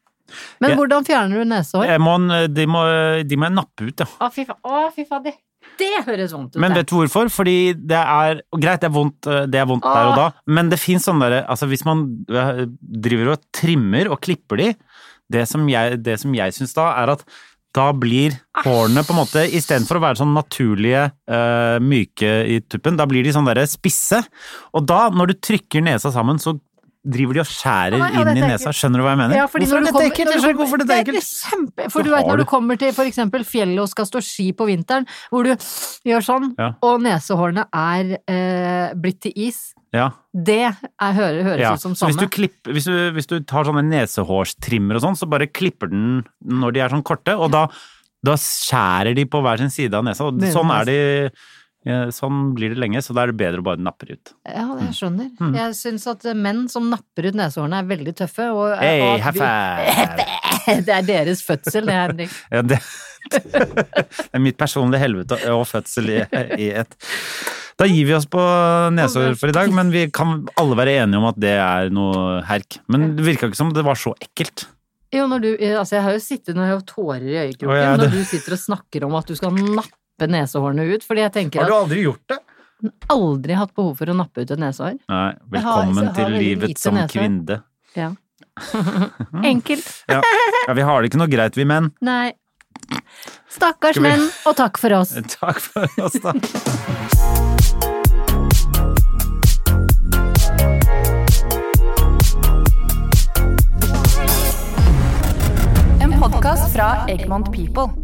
Speaker 1: Men
Speaker 2: Jeg-
Speaker 1: hvordan fjerner du nesehår?
Speaker 2: Jeg må, eh, de, må, de må jeg nappe ut, ja.
Speaker 1: Å, fy faen. Å, fy faen. Det, det høres vondt ut.
Speaker 2: Men
Speaker 1: det.
Speaker 2: vet du hvorfor? Fordi det er og Greit, det er vondt, eh, det er
Speaker 1: Ah.
Speaker 2: vondt der og da, men det fins sånn derre Altså, hvis man eh, driver og trimmer og klipper de, det som jeg, det som jeg syns da, er at da blir hårene på en måte Istedenfor å være sånn naturlige, eh, myke i tuppen, da blir de sånn derre spisse. Og da, når du trykker nesa sammen, så driver de og skjærer
Speaker 1: Nei, ja,
Speaker 2: inn
Speaker 1: dette
Speaker 2: i
Speaker 1: er
Speaker 2: nesa?
Speaker 1: ekkelt.
Speaker 2: Skjønner du hva jeg mener?
Speaker 1: Ja, fordi
Speaker 2: hvorfor
Speaker 1: når du
Speaker 2: er dette
Speaker 1: kommer- når
Speaker 2: ekkelt? Jeg
Speaker 1: du
Speaker 2: skjønner ikke hvorfor
Speaker 1: kommer-
Speaker 2: dette er
Speaker 1: det
Speaker 2: ekkelt.
Speaker 1: kjempe, for
Speaker 2: Så
Speaker 1: du vet
Speaker 2: har
Speaker 1: når
Speaker 2: du-
Speaker 1: du kommer til for eksempel fjellet og skal stå ski på vinteren, hvor du gjør sånn,
Speaker 2: Ja.
Speaker 1: og nesehårene er eh, blitt til is.
Speaker 2: Ja,
Speaker 1: Det er, hører, høres
Speaker 2: ja.
Speaker 1: ut som
Speaker 2: Så hvis du,
Speaker 1: samme.
Speaker 2: klipper, hvis, du, hvis du tar sånne nesehårstrimmer og sånn, så bare klipper den når de er sånn korte, og da, da skjærer de på hver sin side av nesa. Og
Speaker 1: Nesa.
Speaker 2: sånn er de ja, Sånn blir det lenge, så da er det bedre å bare nappe ut.
Speaker 1: Ja,
Speaker 2: Mm.
Speaker 1: det jeg skjønner. Jeg syns at menn som napper ut nesehårene er veldig tøffe, og,
Speaker 2: Hei,
Speaker 1: og at
Speaker 2: high
Speaker 1: vi-
Speaker 2: five!
Speaker 1: det er deres fødsel, det, Henrik.
Speaker 2: Ja, det, det er mitt personlige helvete og fødsel i, i ett. Da gir vi oss på nesehår for i dag, men vi kan alle være enige om at det er noe herk. Men det virka ikke som det var så ekkelt.
Speaker 1: Jo, når du, altså jeg har jo sittet når jeg har tårer i øyekroken,
Speaker 2: Å, ja, det-
Speaker 1: når du sitter og snakker om at du skal nappe nesehårene ut, fordi jeg tenker at
Speaker 2: aldri gjort det?
Speaker 1: jeg aldri hatt behov for å nappe ut et nesehår.
Speaker 2: Nei.
Speaker 1: Jeg har-
Speaker 2: Velkommen
Speaker 1: jeg har
Speaker 2: til
Speaker 1: veldig
Speaker 2: livet
Speaker 1: lite
Speaker 2: som
Speaker 1: nesehår.
Speaker 2: kvinne.
Speaker 1: Ja.
Speaker 2: Mm.
Speaker 1: Enkelt.
Speaker 2: Ja. ja, vi har det ikke noe greit, vi menn.
Speaker 1: Nei. Stakkars menn, og takk for oss.
Speaker 2: Takk for oss, da.
Speaker 4: En podkast fra Egmont People.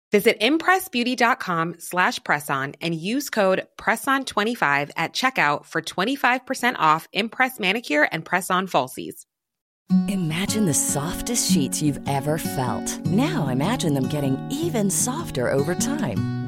Speaker 6: Visit impressbeauty.com slash presson and use code presson25 at checkout for 25% off Impress manicure and press-on falsies.
Speaker 7: Imagine the softest sheets you've ever felt. Now imagine them getting even softer over time.